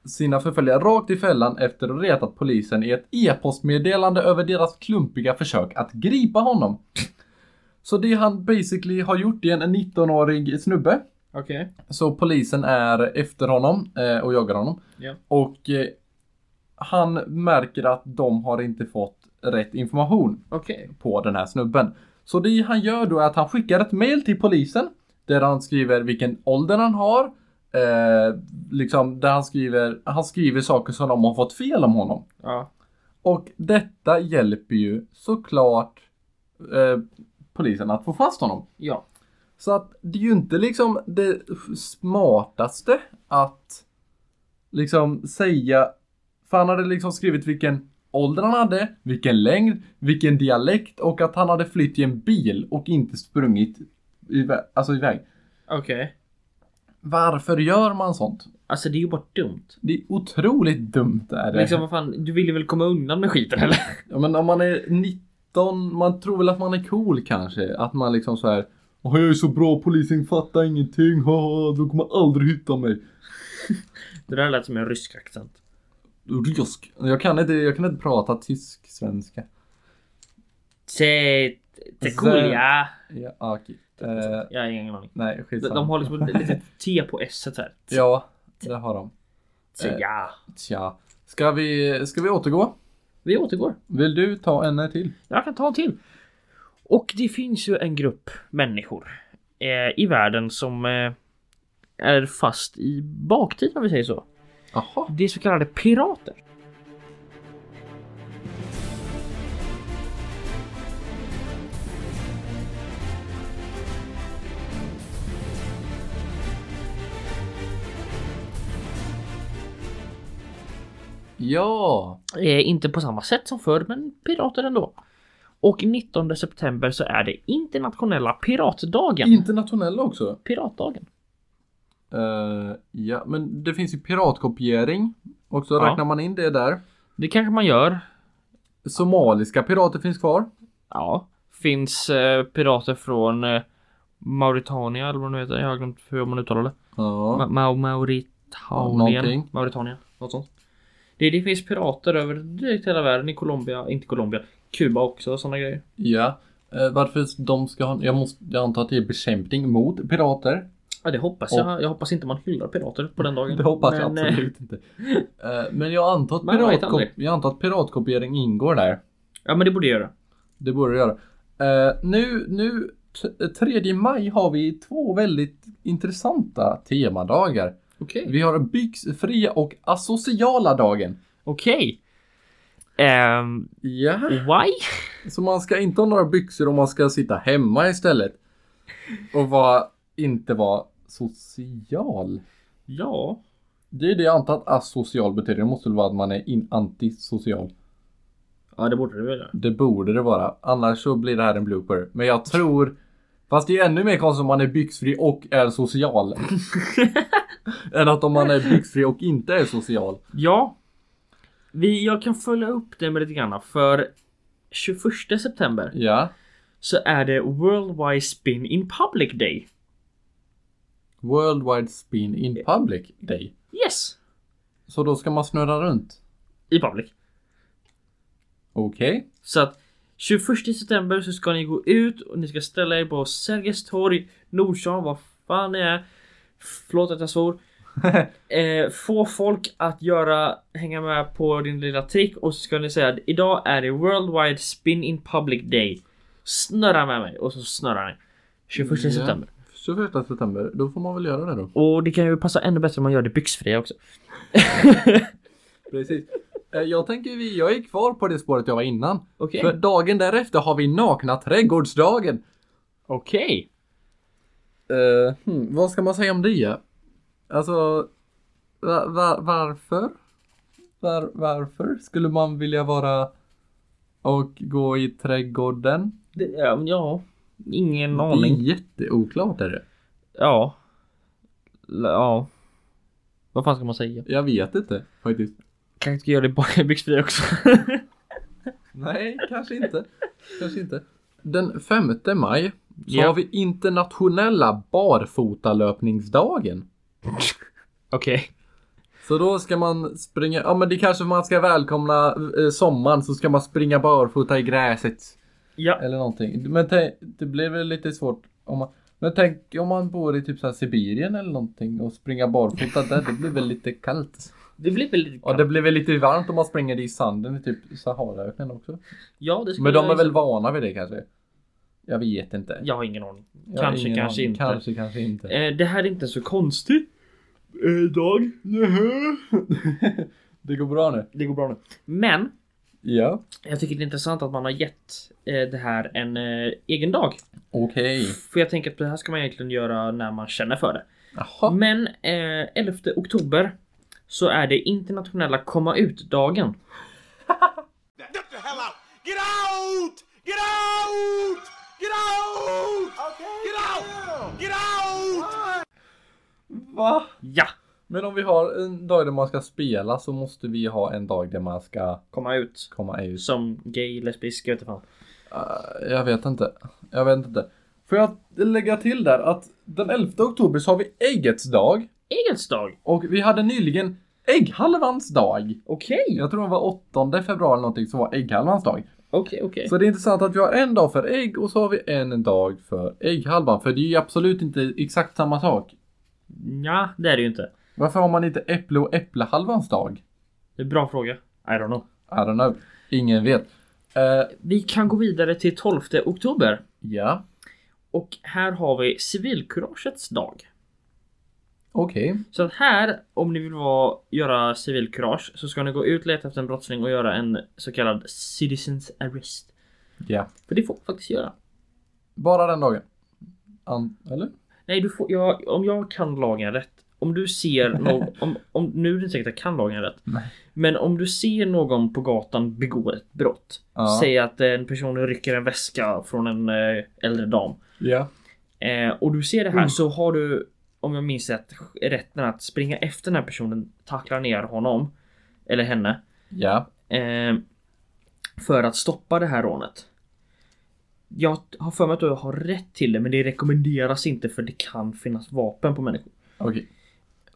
sina förföljare rakt i fällan efter att ha retat polisen i ett e-postmeddelande över deras klumpiga försök att gripa honom. Så det han basically har gjort är en 19-årig snubbe. Okej. Så polisen är efter honom eh, och jagar honom. Ja. Och eh, han märker att de har inte fått rätt information Okej. på den här snubben. Så det han gör då är att han skickar ett mail till polisen där han skriver vilken ålder han har. Eh, liksom där han skriver, han skriver saker som de har fått fel om honom. Ja. Och detta hjälper ju såklart eh, polisen att få fast honom. Ja. Så att det är ju inte liksom det smartaste att liksom säga, för han hade liksom skrivit vilken ålder han hade, vilken längd, vilken dialekt och att han hade flytt i en bil och inte sprungit iväg. Alltså iväg. Okej. Varför gör man sånt? Alltså det är ju bara dumt. Det är otroligt dumt är det. Liksom vad fan, du ville väl komma undan med skiten eller? Ja men om man är 19, man tror väl att man är cool kanske. Att man liksom så här. Åh jag är så bra, polisen fattar ingenting, haha, de kommer aldrig hitta mig. Det där lät som en rysk accent. Rysk. Jag kan inte, jag kan inte prata tysk svenska. Se... Tequila. Ja, ah, okej. Eh, Jag har ingen aning. nej, De, skitsamma. de har liksom ett litet T på S här. Ja, det har de. Eh. Tja. Tja. Ska vi, ska vi återgå? Vi återgår. Vill du ta en till? Jag kan ta en till. Och det finns ju en grupp människor eh, i världen som eh, är fast i baktid om vi säger så. Jaha. Det är så kallade pirater. Ja. Eh, inte på samma sätt som förr, men pirater ändå. Och 19 september så är det internationella piratdagen. Internationella också. Piratdagen. Eh, ja, men det finns ju piratkopiering. Också Ja. räknar man in det där. Det kanske man gör. Somaliska pirater finns kvar. Ja. finns eh, pirater från eh, Mauritania eller vad de heter. Jag har glömt hur man uttalar det. Ma- Ja. Ma- Ja, Mauritanien. någonting. Mauritanien. Något sånt. Det, det finns pirater över direkt hela världen. I Colombia, inte Colombia. Kuba också och sådana grejer. ja. Eh, varför de ska ha... Jag, måste, jag antar att det är bekämpning mot pirater. Ja, det hoppas Och- jag. Jag hoppas inte man hyllar pirater på den dagen. Det hoppas jag Men, eh, absolut inte. Eh, men jag antar, att Man vet piratkop- aldrig. jag antar att piratkopiering ingår där. eh, Ja, men det borde jag göra. Det borde det göra. Eh, nu, nu, t- 3 maj har vi två väldigt intressanta temadagar. Okej. Vi har byxfria och asociala dagen. Okej. Ehm, Ja. why? Så man ska inte ha några byxor och man ska sitta hemma istället. Och vara, inte vara social. Ja. Det är det jag antar att asocial betyder. Det måste väl vara att man är in- antisocial. Ja, det borde det väl göra. Det borde det vara. Annars så blir det här en blooper. Men jag tror... Fast det är ännu mer konstigt om man är byxfri och är social. Än att om man är byxfri och inte är social. Ja. Vi, jag kan följa upp det med lite grann. För 21 september Ja. så är det Worldwide Spin in Public Day. Worldwide spin in public day. Yes! Så då ska man snurra runt. I public. Okej. Så att 21 september så ska ni gå ut och ni ska ställa er på Sergels torg, Nordstan, vad fan det är. Förlåt att jag svor. eh, få folk att göra, hänga med på din lilla trick och så ska ni säga att idag är det Worldwide Spin in Public Day. Snurra med mig och så snurrar ni. 21 Ja. september. 21 september, då får man väl göra det då. Och det kan ju passa ännu bättre om man gör det byxfria också. Precis. Eh, Jag tänker vi, jag är kvar på det spåret jag var innan. Okej. För dagen därefter har vi nakna trädgårdsdagen. Okej. Eh, hmm, vad ska man säga om det? Alltså, va- va- varför? Var- varför skulle man vilja vara och gå i trädgården? Det- Ja, men ja. Ingen Det är aning. jätteoklart är det. Ja. L- Ja. Vad fan ska man säga? Jag vet inte faktiskt. Kanske ska göra det bara byxfri också. Nej, kanske inte. Kanske inte. Den 5 maj så Ja. har vi internationella barfotalöpningsdagen. Okej. Så då ska man springa, ja men det kanske man ska välkomna eh, sommaren så ska man springa barfota i gräset. Ja. Eller någonting. Men tänk, det blir väl lite svårt om man, men tänk om man bor i typ så här Sibirien eller någonting och springa barfota där, det blir väl lite kallt. Det blir väl lite Ja det blir väl lite varmt om man springer i sanden i typ Saharaöknen också. ja, det skulle Men de jag är väl gissa. vana vid det kanske? Jag vet inte. Jag har ingen aning. Jag har kanske, ingen kanske aning. inte. Kanske, kanske inte. Eh, det här är inte så konstigt. Eh, dag. Nähä. Det går bra nu. Det går bra nu. Men. Ja. Jag tycker det är intressant att man har gett eh, det här en eh, egen dag. Okej. För jag tänker att det här ska man egentligen göra när man känner för det. Jaha. Men eh, 11 oktober så är det internationella komma ut-dagen. Get the hell out! Get out! Get out! Get out! Get out! Get out! Va? Ja! Men om vi har en dag där man ska spela så måste vi ha en dag där man ska Komma ut. komma ut. Som gay, lesbisk, jag vet inte fan. Jag vet inte. Jag vet inte. Får jag lägga till där att den 11 oktober så har vi äggets dag Äggets dag! och vi hade nyligen ägghalvans dag. Okej! Jag tror det var 8 februari eller någonting som var ägghalvans dag. Okej, okej. Så det är intressant att vi har en dag för ägg och så har vi en dag för ägghalvan. För det är ju absolut inte exakt samma sak. Nja, det är det ju inte. Varför har man inte äpple och äpplehalvans dag? Det är en bra fråga. I don't know. I don't know. Ingen vet. Eh, Vi kan gå vidare till 12 oktober. ja, Och här har vi civilkuragets dag. okej. Så att här, om ni vill vara, göra civilkurage så ska ni gå ut, leta efter en brottsling och göra en så kallad citizens arrest. Ja. För det får man faktiskt göra. Bara den dagen. An- eller? Nej, du får, jag, om jag kan lagen rätt. Om du ser någon, om, om, nu är det inte säkert att jag kan lagen rätt. Men om du ser någon på gatan begå ett brott. Ja. Säg att en person rycker en väska från en eh, äldre dam. Ja. Eh, och du ser det här så har du, om jag minns rätt, rätten att springa efter den här personen, tackla ner honom. Eller henne. Ja. Eh, för att stoppa det här rånet. Jag har för mig att du har rätt till det men det rekommenderas inte för det kan finnas vapen på människor. Okej.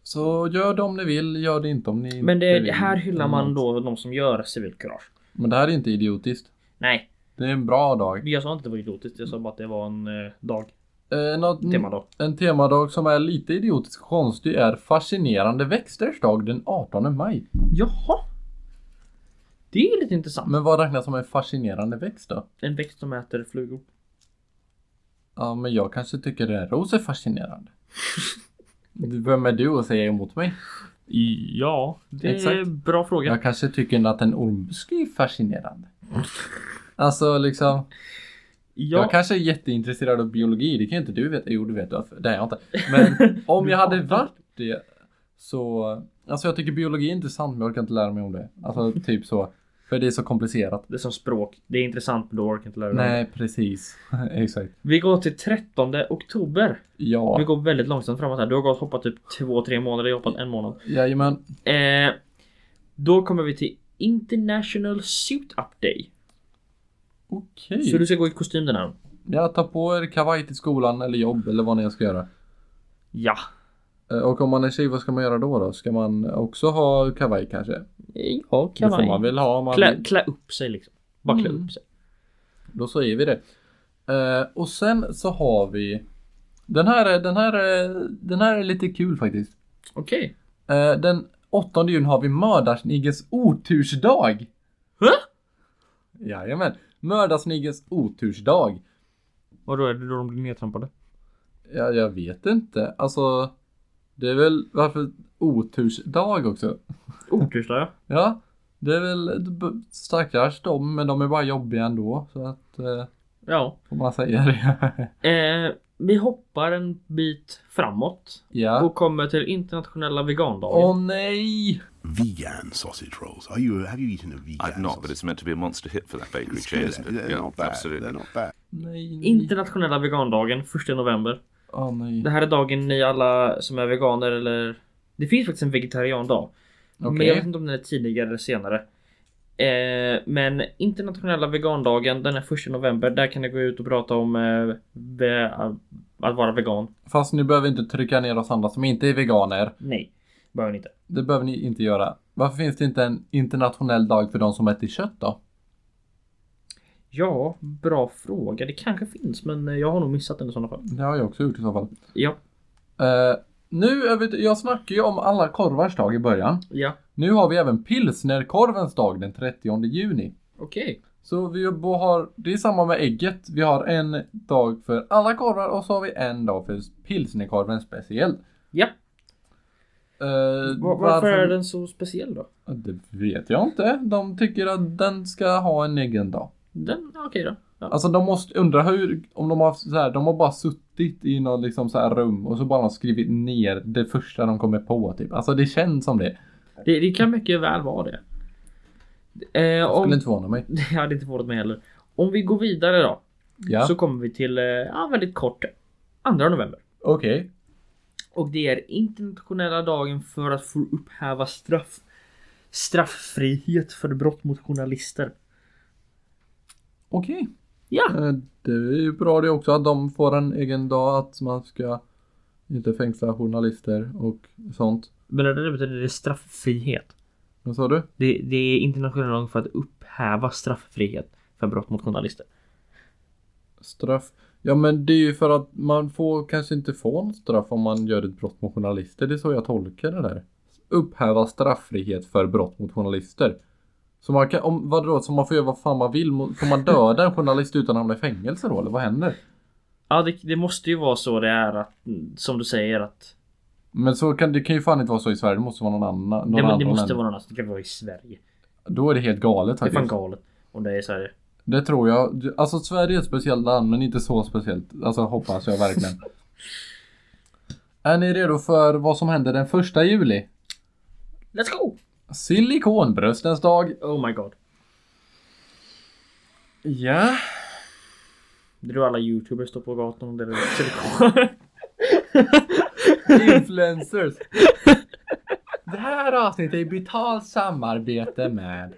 Så gör det om ni vill, gör det inte om ni Men inte det, det vill. här hyllar man då de som gör civilkurage. Men det här är inte idiotiskt. Nej, Det är en bra dag. jag sa inte att det var idiotiskt. Jag sa bara att det var en eh, dag. Eh, något, Temadag. En temadag som är lite idiotiskt konstig är fascinerande växters dag den 18 maj. Jaha! Det är lite intressant. Men vad räknas som en fascinerande växt då? En växt som äter flugor. Ja, men jag kanske tycker en ros är fascinerande. Vem är du att säga emot mig? Ja, det är Exakt. en bra fråga. Jag kanske tycker att en ormbuske är fascinerande. Alltså liksom, ja, jag kanske är jätteintresserad av biologi, det kan ju inte du veta. Jo, du vet varför. Det är jag inte. Men om jag hade varit det så, alltså jag tycker biologi är intressant men jag orkar inte lära mig om det. Alltså typ så, för det är så komplicerat. Det är som språk. Det är intressant men du orkar inte lära dig. Nej, precis. Exakt. Vi går till 13 oktober. Ja, Vi går väldigt långsamt framåt här. Du har gått hoppat typ 2-3 månader. Jag har hoppat en månad. jajamän. Eh, då kommer vi till International Suit Up Day. Okej. Så du ska gå i kostym den här. Jag tar på er kavaj till skolan eller jobb eller vad ni än ska göra. Ja. Eh, Och om man är tjej, vad ska man göra då? då? Ska man också ha kavaj kanske? Eh, Ja, Det får kavaj. man väl ha om man Klä, vill. klä upp sig liksom. Bara klä upp sig. Då säger vi det. Eh, och sen så har vi den här, är- den här, är- den här är lite kul faktiskt. Okej. Eh, den 8 juni har vi mördarsniggens otursdag. Hä? Jajamän. Mördarsniggens otursdag. Och då är det då de blir nedtrampade? Ja, jag vet inte. Alltså, det är väl varför otursdag också? Otursdag ja. Ja, det är väl b- stackars dem, men de är bara jobbiga ändå. Så att, eh, Ja. får man säga det. Eh, vi hoppar en bit framåt. ja. Och kommer till internationella vegandagen. Åh nej! Vegan sausage rolls. Are you? Have you eaten a vegan? I've not, but sausage- it's meant to be a monster hit for that bakery It's chain, good. isn't it? They're yeah, not bad. absolutely. They're not bad. Nej, nej. Internationella vegandagen 1 november. Åh nej. Det här är dagen ni alla som är veganer eller Det finns faktiskt en vegetariandag. Men Okej. jag vet inte om den är tidigare eller senare. Eh, men internationella vegandagen den är 1 november. Där kan ni gå ut och prata om eh, ve- att vara vegan. Fast ni behöver inte trycka ner oss andra som inte är veganer. Nej, behöver ni inte. Det behöver ni inte göra. Varför finns det inte en internationell dag för de som äter kött då? Ja, bra fråga. Det kanske finns men eh, jag har nog missat den i sådana fall. Det har jag också gjort i så fall. Ja, Eh, nu, är vi, jag snackade ju om alla korvars dag i början. ja, Nu har vi även pilsnerkorvens dag den 30 juni. okej. Så vi bo- har, det är samma med ägget. Vi har en dag för alla korvar och så har vi en dag för pilsnerkorven speciellt. Ja, Eh, Va- varför är den så speciell då? Det vet jag inte. De tycker att den ska ha en egen dag. Den, ja, okej då. Ja. Alltså de måste undra hur, om de har så här, de har bara suttit i något liksom så här rum och så bara har skrivit ner det första de kommer på typ. Alltså det känns som det. Det, det kan mycket väl vara det. Skulle Eh, om, inte förvåna mig. jag hade inte förvånat mig heller. Om vi går vidare då. Ja, Så kommer vi till, eh, ja väldigt kort, 2 november. okej. Och det är internationella dagen för att få upphäva straff. Strafffrihet för brott mot journalister. Okej. Ja, Eh, Det är ju bra det också att de får en egen dag att man ska inte fängsla journalister och sånt. men det betyder det är strafffrihet. Vad sa du? Det, det är internationella dagen för att upphäva strafffrihet för brott mot journalister. Straff? Ja men det är ju för att man får kanske inte få en straff om man gör ett brott mot journalister. Det är så jag tolkar det där. Upphäva strafffrihet för brott mot journalister. Så man kan, om, vadå, så man får göra vad fan man vill? mot- Får man döda en journalist utan att hamna i fängelse då eller vad händer? Ja, det, det måste ju vara så det är att, mm, som du säger att Men så kan, det kan ju fan inte vara så i Sverige, det måste vara någon annan. Någon Nej, men det annan måste länder. vara någon annan. Det kan vara i Sverige. Då är det helt galet Det är faktiskt. fan galet. Om det är i Sverige. Det tror jag. Alltså Sverige är ett speciellt land men inte så speciellt. Alltså hoppas jag verkligen. är ni redo för vad som händer den första juli? Let's go! Silikonbröstens dag. Oh my god. Ja. Det är då alla youtubers står på gatan och delar ut silikon. Influencers. Det här avsnittet är i betalt samarbete med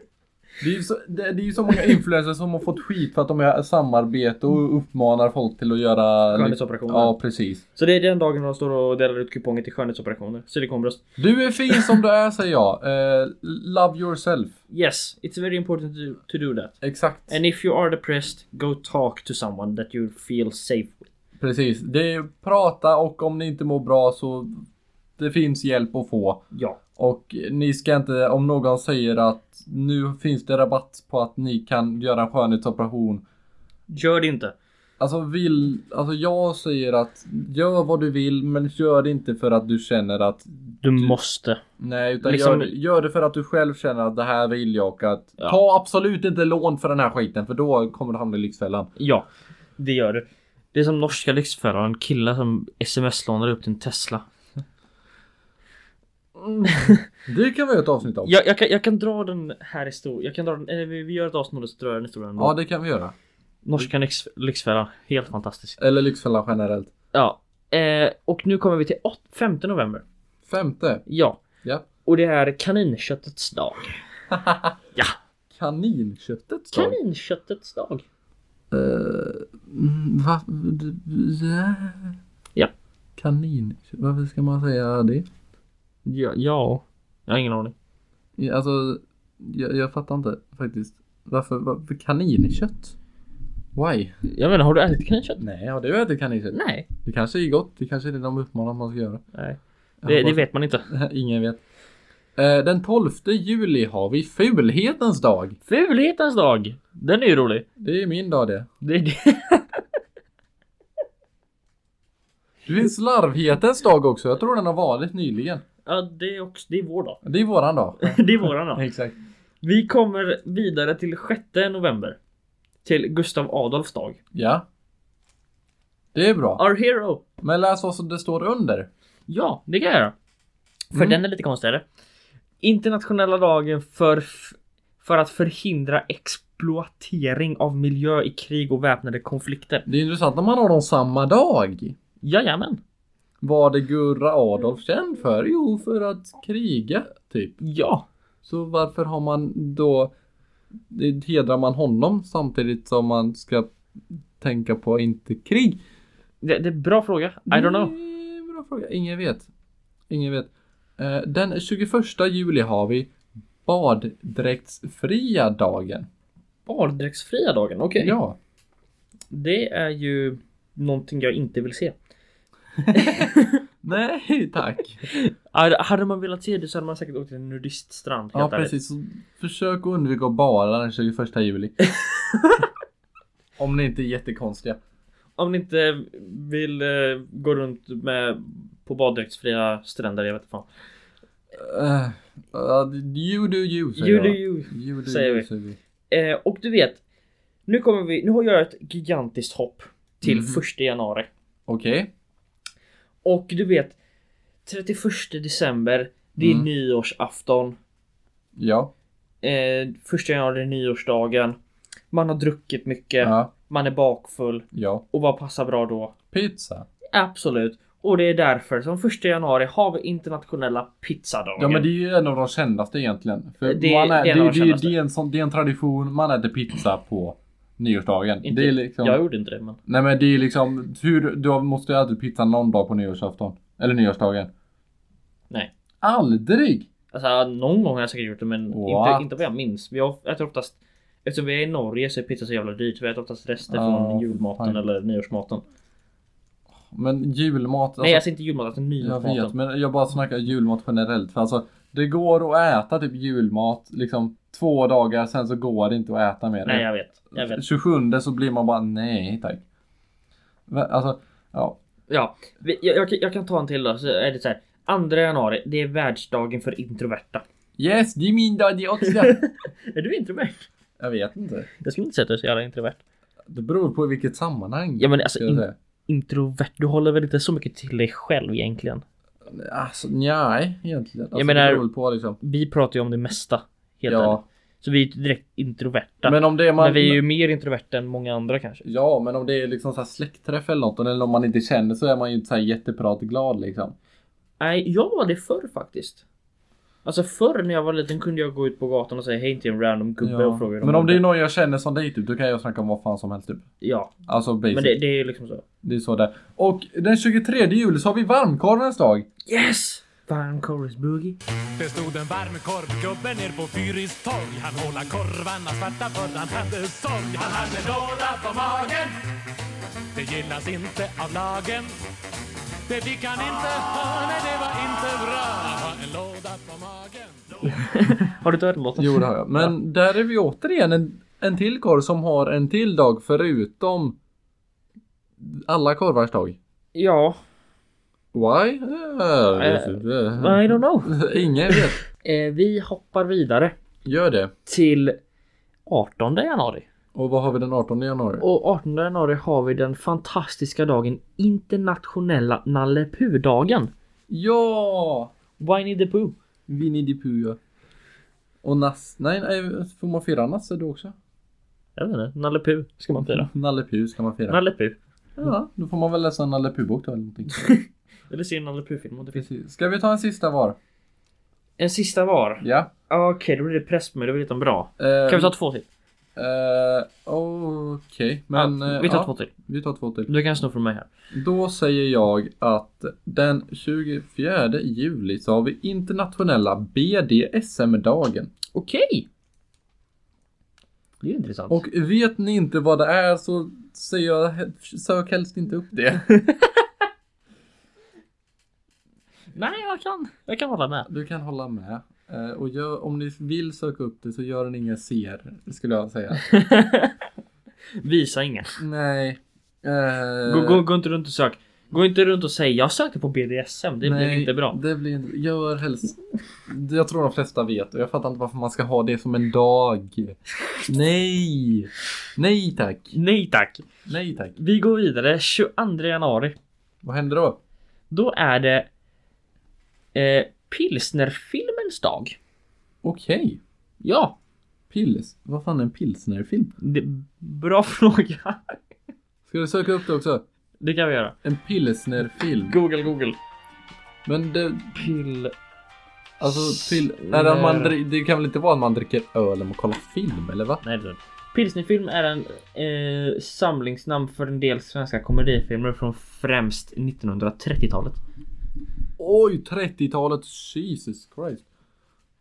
Det är, ju så, det, det är ju så många influencers som har fått skit för att de gör samarbete och uppmanar folk till att göra... Skönhetsoperationer. Ja, precis. Så det är den dagen de står och delar ut kuponger till skönhetsoperationer. Silikonbröst. Du är fin som du är säger jag. Eh, love yourself. Yes, it's very important to, to do that. Exakt. And if you are depressed, go talk to someone that you feel safe with. Precis. Det är prata och om ni inte mår bra så det finns hjälp att få. Ja. Och ni ska inte, om någon säger att nu finns det rabatt på att ni kan göra en skönhetsoperation. Gör det inte. Alltså vill, alltså jag säger att gör vad du vill men gör det inte för att du känner att Du måste. Nej utan Liksom- gör, det- gör det för att du själv känner att det här vill jag och att ta absolut inte lån för den här skiten för då kommer du hamna i Lyxfällan. Ja, det gör du. Det är som norska lyxföraren, killar som sms-lånar upp till en Tesla. Det kan vi göra ett avsnitt om. Jag, jag, kan, jag kan dra den här historien. Jag kan dra den, eller vi vi gör ett avsnitt och så drar jag den historien. Ja ändå. det kan vi göra. Norska lyx, lyxfällan, helt fantastiskt. Eller Lyxfällan generellt. Ja. Eh, och nu kommer vi till 8, 5 november. Femte. Ja. Ja. Och det är kaninköttets dag. Kaninköttet sa du? Kaninköttets dag. Mm, Va? D- d- Ja. Kanin? Varför ska man säga det? Ja, ja. Jag har ingen aning. Ja, Alltså, jag, jag fattar inte faktiskt. Varför, varför kaninkött? Why? Jag menar, har du ätit kaninkött? Nej, har du ätit kaninkött? Nej. Det kanske är gott. Det kanske är det de uppmanar att man ska göra. Nej. Jag Det, det hoppas- vet man inte. Ingen vet. Eh, Den 12 juli har vi fulhetens dag. Fulhetens dag! Den är ju rolig. Det är min dag det. Det, det. Det är slarvhetens dag också. Jag tror den har varit nyligen. Ja, det är också, det är vår dag. Det är våran dag. Det är våran dag. Exakt. Vi kommer vidare till 6 november. Till Gustav Adolfs dag. Ja. Det är bra. Our hero! Men läs vad som det står under. Ja, det kan jag göra. För den är lite konstigare. Internationella dagen för, f- för att förhindra exploatering av miljö i krig och väpnade konflikter. Det är intressant när man har dem samma dag. Jajamän. Var det Gurra Adolf känd för? Jo, för att kriga, typ. Ja. Så varför har man då... det- Hedrar man honom samtidigt som man ska tänka på inte krig? Det, det är bra fråga. I don't know. Det är en Bra fråga. Ingen vet. Ingen vet. Eh, Den 21 juli har vi baddräktsfria dagen. Baddräktsfria dagen, okej. Ja. Det är ju någonting jag inte vill se. Nej, tack. Hade- Ah, Hade man velat se det så hade man säkert åkt till en nudiststrand. Ja, helt ärligt. precis. Så försök att undvika att bada den 21 juli. Om ni inte är jättekonstiga. Om ni inte vill eh, gå runt med på baddräktsfria stränder, jag vet inte fan. Eh, eh, you do you, säger You do jag. you. You do säger you, vi. säger vi. Eh, och du vet, nu kommer vi, nu har jag ett gigantiskt hopp till Mhm. 1 januari. Okej. Och du vet, 31 december, det är Mm. nyårsafton. Ja. Eh, 1 januari är nyårsdagen. Man har druckit mycket, Ja. man är bakfull. Ja. Och vad passar bra då? Pizza. Absolut. Och det är därför som 1 januari har vi internationella pizzadagen. Ja men det är ju en av de kändaste egentligen. För Det- man är, det det, är en av de det, det, kändaste. det, är en sån, det är en tradition, man äter pizza på nyårsdagen. inte, Det är liksom, Jag gjorde inte det men. Nej men det är liksom, hur, du måste ju äta pizza någon dag på nyårsafton. Eller nyårsdagen. Nej. Aldrig! Alltså någon gång har jag säkert gjort det men inte, What? inte vad jag minns. Vi har- äter oftast Eftersom vi är i Norge så är pizza så jävla dyrt. Vi äter oftast rester Ja, Alltså- från julmaten fan. eller nyårsmaten. Men julmat, alltså, Nej alltså inte julmaten, alltså jag nyårsmaten. vet men jag bara snackar julmat generellt. För alltså, det går att äta typ julmat liksom två dagar, sen så går det inte att äta mer. Nej jag vet. Jag Alltså- vet. 27 så blir man bara nej tack. Va- Alltså, ja. Ja, vi- jag, jag, kan- jag kan ta en till då. Så är det så här. 2 januari, det är världsdagen för introverta. Yes, det är min dag det också. Är du introvert? jag vet inte. Jag skulle inte säga att du är så jävla introvert. Det beror på i vilket sammanhang. Ja men alltså skulle jag in, säga. introvert, du håller väl inte så mycket till dig själv egentligen? Alltså, nej egentligen. Alltså, Jag menar- det beror på liksom. Vi pratar ju om det mesta. Helt ärligt. Ja, Så vi är ju inte direkt introverta. Men, men om det är man. vi är ju mer introverta än många andra kanske. Ja, men om det är liksom så här släktträff eller något eller om man inte känner så är man ju inte så här jättepratglad liksom. Nej, jag var det förr faktiskt. Alltså förr när jag var liten kunde jag gå ut på gatan och säga hej till en random gubbe och fråga Men om det är någon jag känner som dig typ, då kan jag snacka om vad fan som helst typ. Ja, Alltså basic. men det, det är liksom så. Det är så det är. Och den 23 juli så har vi varmkorvens dag. Yes! Fan chorus boogie. Det stod en varm korvgubbe ner på Fyris torg Han hålla korvarna svarta för han hade sorg Han hade några på magen Det gillas inte av lagen Det fick han inte ha, nej det var inte bra Han har en låda på magen Har du inte hört låten? Jo det har jag. Men där är vi återigen en, en till korv som har en till dag förutom alla korvars dag. Ja. Why? Äh, Äh, Mm. I don't know. Ingen vet. Eh, vi hoppar vidare Gör det. till 18 januari. Och vad har vi den 18 januari? Och 18 januari har vi den fantastiska dagen internationella Nalle Puh-dagen. Ja! Winnie the Pooh. Winnie the Pooh ja. Och Nass... Nej, nej, får man fira Nasse då också? Jag vet inte, Nalle Puh ska man fira. Nalle Puh ska man fira. Nalle Puh. Ja, då får man väl läsa en Nalle Puh-bok då eller någonting. Eller se en Nalle Puh-film om det finns. Precis. Ska vi ta en sista var? En sista var. Ja. Okej, då blir det pressmöte, det blir lite bra. Eh, Kan vi ta två till? Eh, Okej, men... ja, eh, vi tar ja, två till. Vi tar två till. Du kan sno från mig här. Då säger jag att den 24 juli så har vi internationella BDSM-dagen. Okej! Det är ju intressant. Och vet ni inte vad det är så säger jag sök helst inte upp det. nej, jag kan. Jag kan hålla med. Du kan hålla med. Eh, Och gör, om ni vill söka upp det så gör den ingen ser, skulle jag säga. Visa ingen. Nej. Eh, Gå, gå, gå inte runt och sök. Gå inte runt och säg jag sökte på BDSM. Det blir nej, inte bra. Det blir inte Gör helst. Jag tror de flesta vet och jag fattar inte varför man ska ha det som en dag. Nej. Nej tack. Nej tack. Nej tack. Vi går vidare 22 januari. Vad händer då? Då är det eh, pilsnerfilmens dag. Okej. Ja, Pils. Vad fan är en pilsnerfilm? det, bra fråga. Ska du söka upp det också? Det kan vi göra. En pilsnerfilm. Google, google. Men det, Pil... alltså, pil, är det, att man, dri- det kan väl inte vara att man dricker öl och kollar film eller va? Nej, det är det. Pilsnerfilm är en eh, samlingsnamn för en del svenska komedifilmer från främst 1930-talet. Oj, 30-talet. Jesus Christ.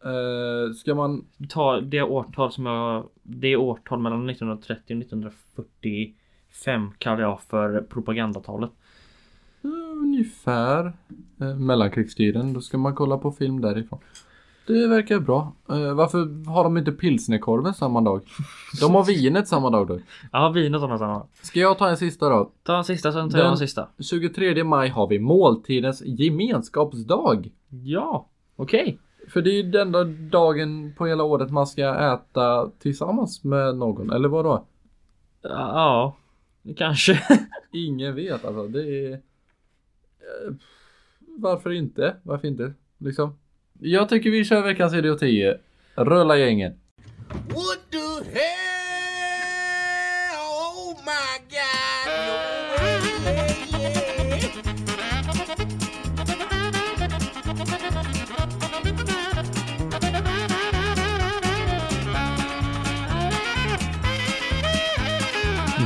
Uh, ska man... Ta det årtal som jag... Det årtal mellan 1930 och 1945 kallar jag för propagandatalet. eh, ungefär eh, mellankrigstiden. Då ska man kolla på film därifrån. Det verkar bra. Eh, varför har de inte pilsnerkorven samma dag? De har vinet samma dag då. Ja, vinet har något annat. Ska jag ta en sista då? Ta en sista, sen tar jag Den- en sista. 23 maj har vi måltidens gemenskapsdag. Ja, okej. För det är ju den enda dagen på hela året man ska äta tillsammans med någon, eller vadå? Ja, kanske. Ingen vet alltså, det är... Eh, Varför inte? Varför inte? Liksom. Jag tycker vi kör veckans idioti. Rulla gängen. What the hell? Oh my god. No way. Yeah, yeah.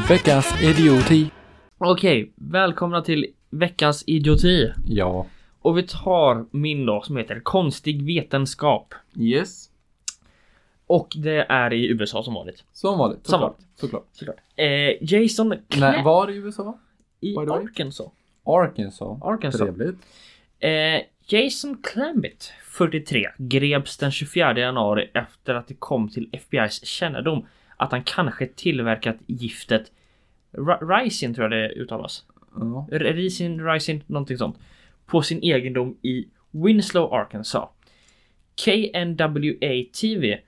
Veckans idioti. Okej, välkomna till veckans idioti. Ja. Och vi tar min dag som heter konstig vetenskap. Yes. Och det är i USA som vanligt. Som vanligt. Som Såklart. Såklart. Såklart. Eh, Jason Nej, Clapp var i USA? i by the way. Arkansas. Arkansas. Arkansas. Trevligt. Eh, Jason Clambett, 43, greps den 24 januari efter att det kom till FBI's kännedom att han kanske tillverkat giftet Ri- Ricin tror jag det uttalas. Ja. Ricin, Ricin, någonting sånt. På sin egendom i Winslow, Arkansas. KNWA TV,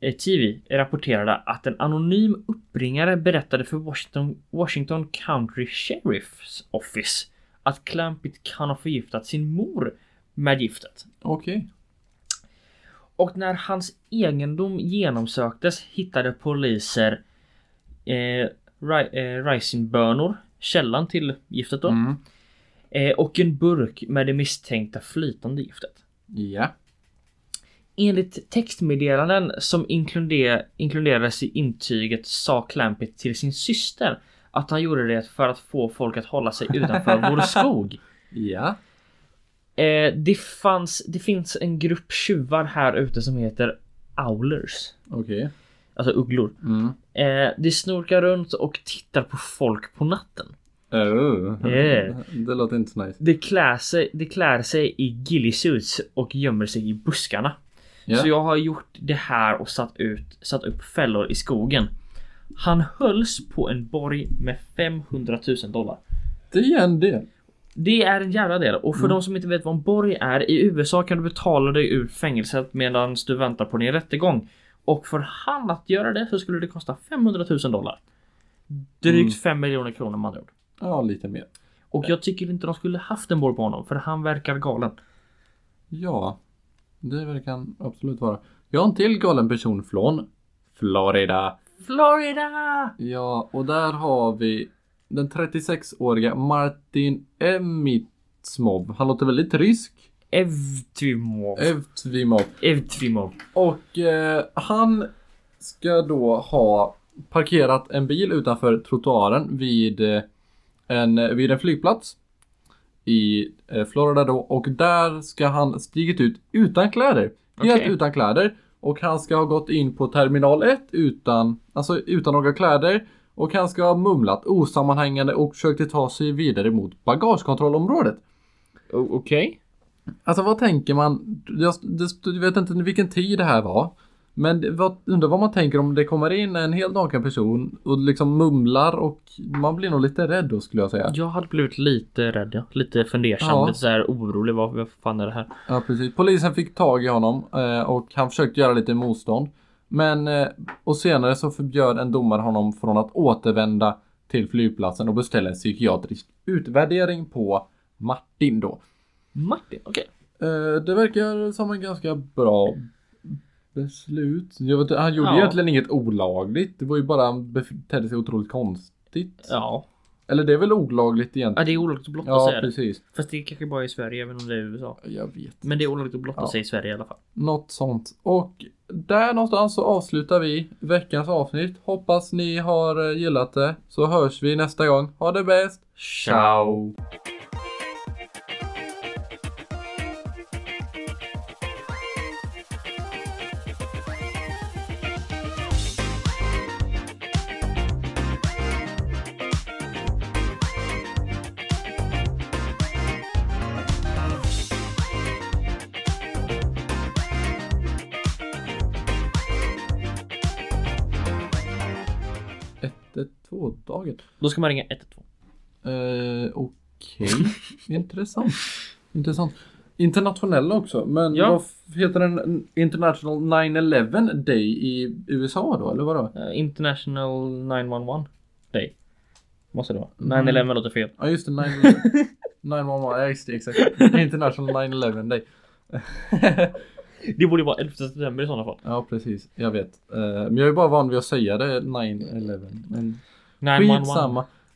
eh, TV rapporterade att en anonym uppringare berättade för Washington, Washington County Sheriff's Office att Clampett kan ha förgiftat sin mor med giftet. Okej. Och när hans egendom genomsöktes hittade poliser eh, ri- eh, ricingbönor, källan till giftet då. Mm. Eh, och en burk med det misstänkta flytande giftet. Ja. Enligt textmeddelanden som inkluder, inkluderades i intyget sa Clampett till sin syster att han gjorde det för att få folk att hålla sig utanför vår skog. Ja. Eh, det, fanns, det finns en grupp tjuvar här ute som heter Owlers. Okej. Alltså ugglor. Mm. Eh, de snorkar runt och tittar på folk på natten. Oh. Yeah. Det låter inte så nice. De klär sig, de klär sig i gillisuits och gömmer sig i buskarna. Ja. Så jag har gjort det här och satt, ut, satt upp fällor i skogen. Han hölls på en borg med 500 000 dollar. Det är en del. Det är en jävla del och för de som inte vet vad en borg är i USA kan du betala dig ur fängelset medan du väntar på din rättegång. Och för han att göra det så skulle det kosta 500 000 dollar. Drygt 5 miljoner kronor med andra ord. Ja, lite mer. Och jag tycker inte de skulle haft en borg på honom för han verkar galen. Ja. Det verkar han absolut vara. Jag har en till galen person från Florida. Florida! Ja, och där har vi den 36-åriga Martin Emitsmov. Han låter väldigt rysk. Evtymov. Evtsimov. Evtymov. Och eh, han ska då ha parkerat en bil utanför trottoaren vid eh, en, vid en flygplats i eh, Florida då och där ska han stigit ut utan kläder. Helt Okej. utan kläder. Och han ska ha gått in på terminal 1 utan, alltså utan några kläder. Och han ska ha mumlat osammanhängande och försökte ta sig vidare mot bagagekontrollområdet. O- Okej. Alltså vad tänker man? Jag det, du vet inte vilken tid det här var. Men det- vad, undrar vad man tänker om det kommer in en helt naken person och liksom mumlar och man blir nog lite rädd då skulle jag säga. Jag hade blivit lite rädd, ja. lite fundersam, Ja. lite så här orolig. Vad, vad fan är det här? Ja precis. Polisen fick tag i honom eh, och han försökte göra lite motstånd. Men eh, och senare så förbjöd en domare honom från att återvända till flygplatsen och beställa en psykiatrisk utvärdering på Martin då. Martin, okej. Eh, Det verkar som en ganska bra beslut. Jag vet, inte, han gjorde Ja. egentligen inget olagligt. Det var ju bara han betedde sig otroligt konstigt. Ja. Eller det är väl olagligt ja, egentligen? det är olagligt att blotta Ja, sig. är det. precis. Fast det är kanske bara i Sverige även om det är USA. Jag vet. Men det är olagligt att blotta Ja. sig i Sverige i alla fall. Något sånt. Och där någonstans så avslutar vi veckans avsnitt. Hoppas ni har eh, gillat det. Så hörs vi nästa gång. Ha det bäst! Ciao! Ett, ett, två dagen. Då ska man ringa 112. Eh, Okej. Intressant. Intressant. Internationella också. Men Ja. vad f- heter den? International 9-11 Day i USA då? Eller vadå? Eh, International 911 Day. Måste det vara. Mm. 911 låter fel. Ja just det, 9-11. 911, ja just det, exakt. International 9-11 Day. Det borde ju vara 11 september i sådana fall. Ja precis, jag vet. Eh, men jag är bara van vid att säga det 9-11. Men 911. skitsamma.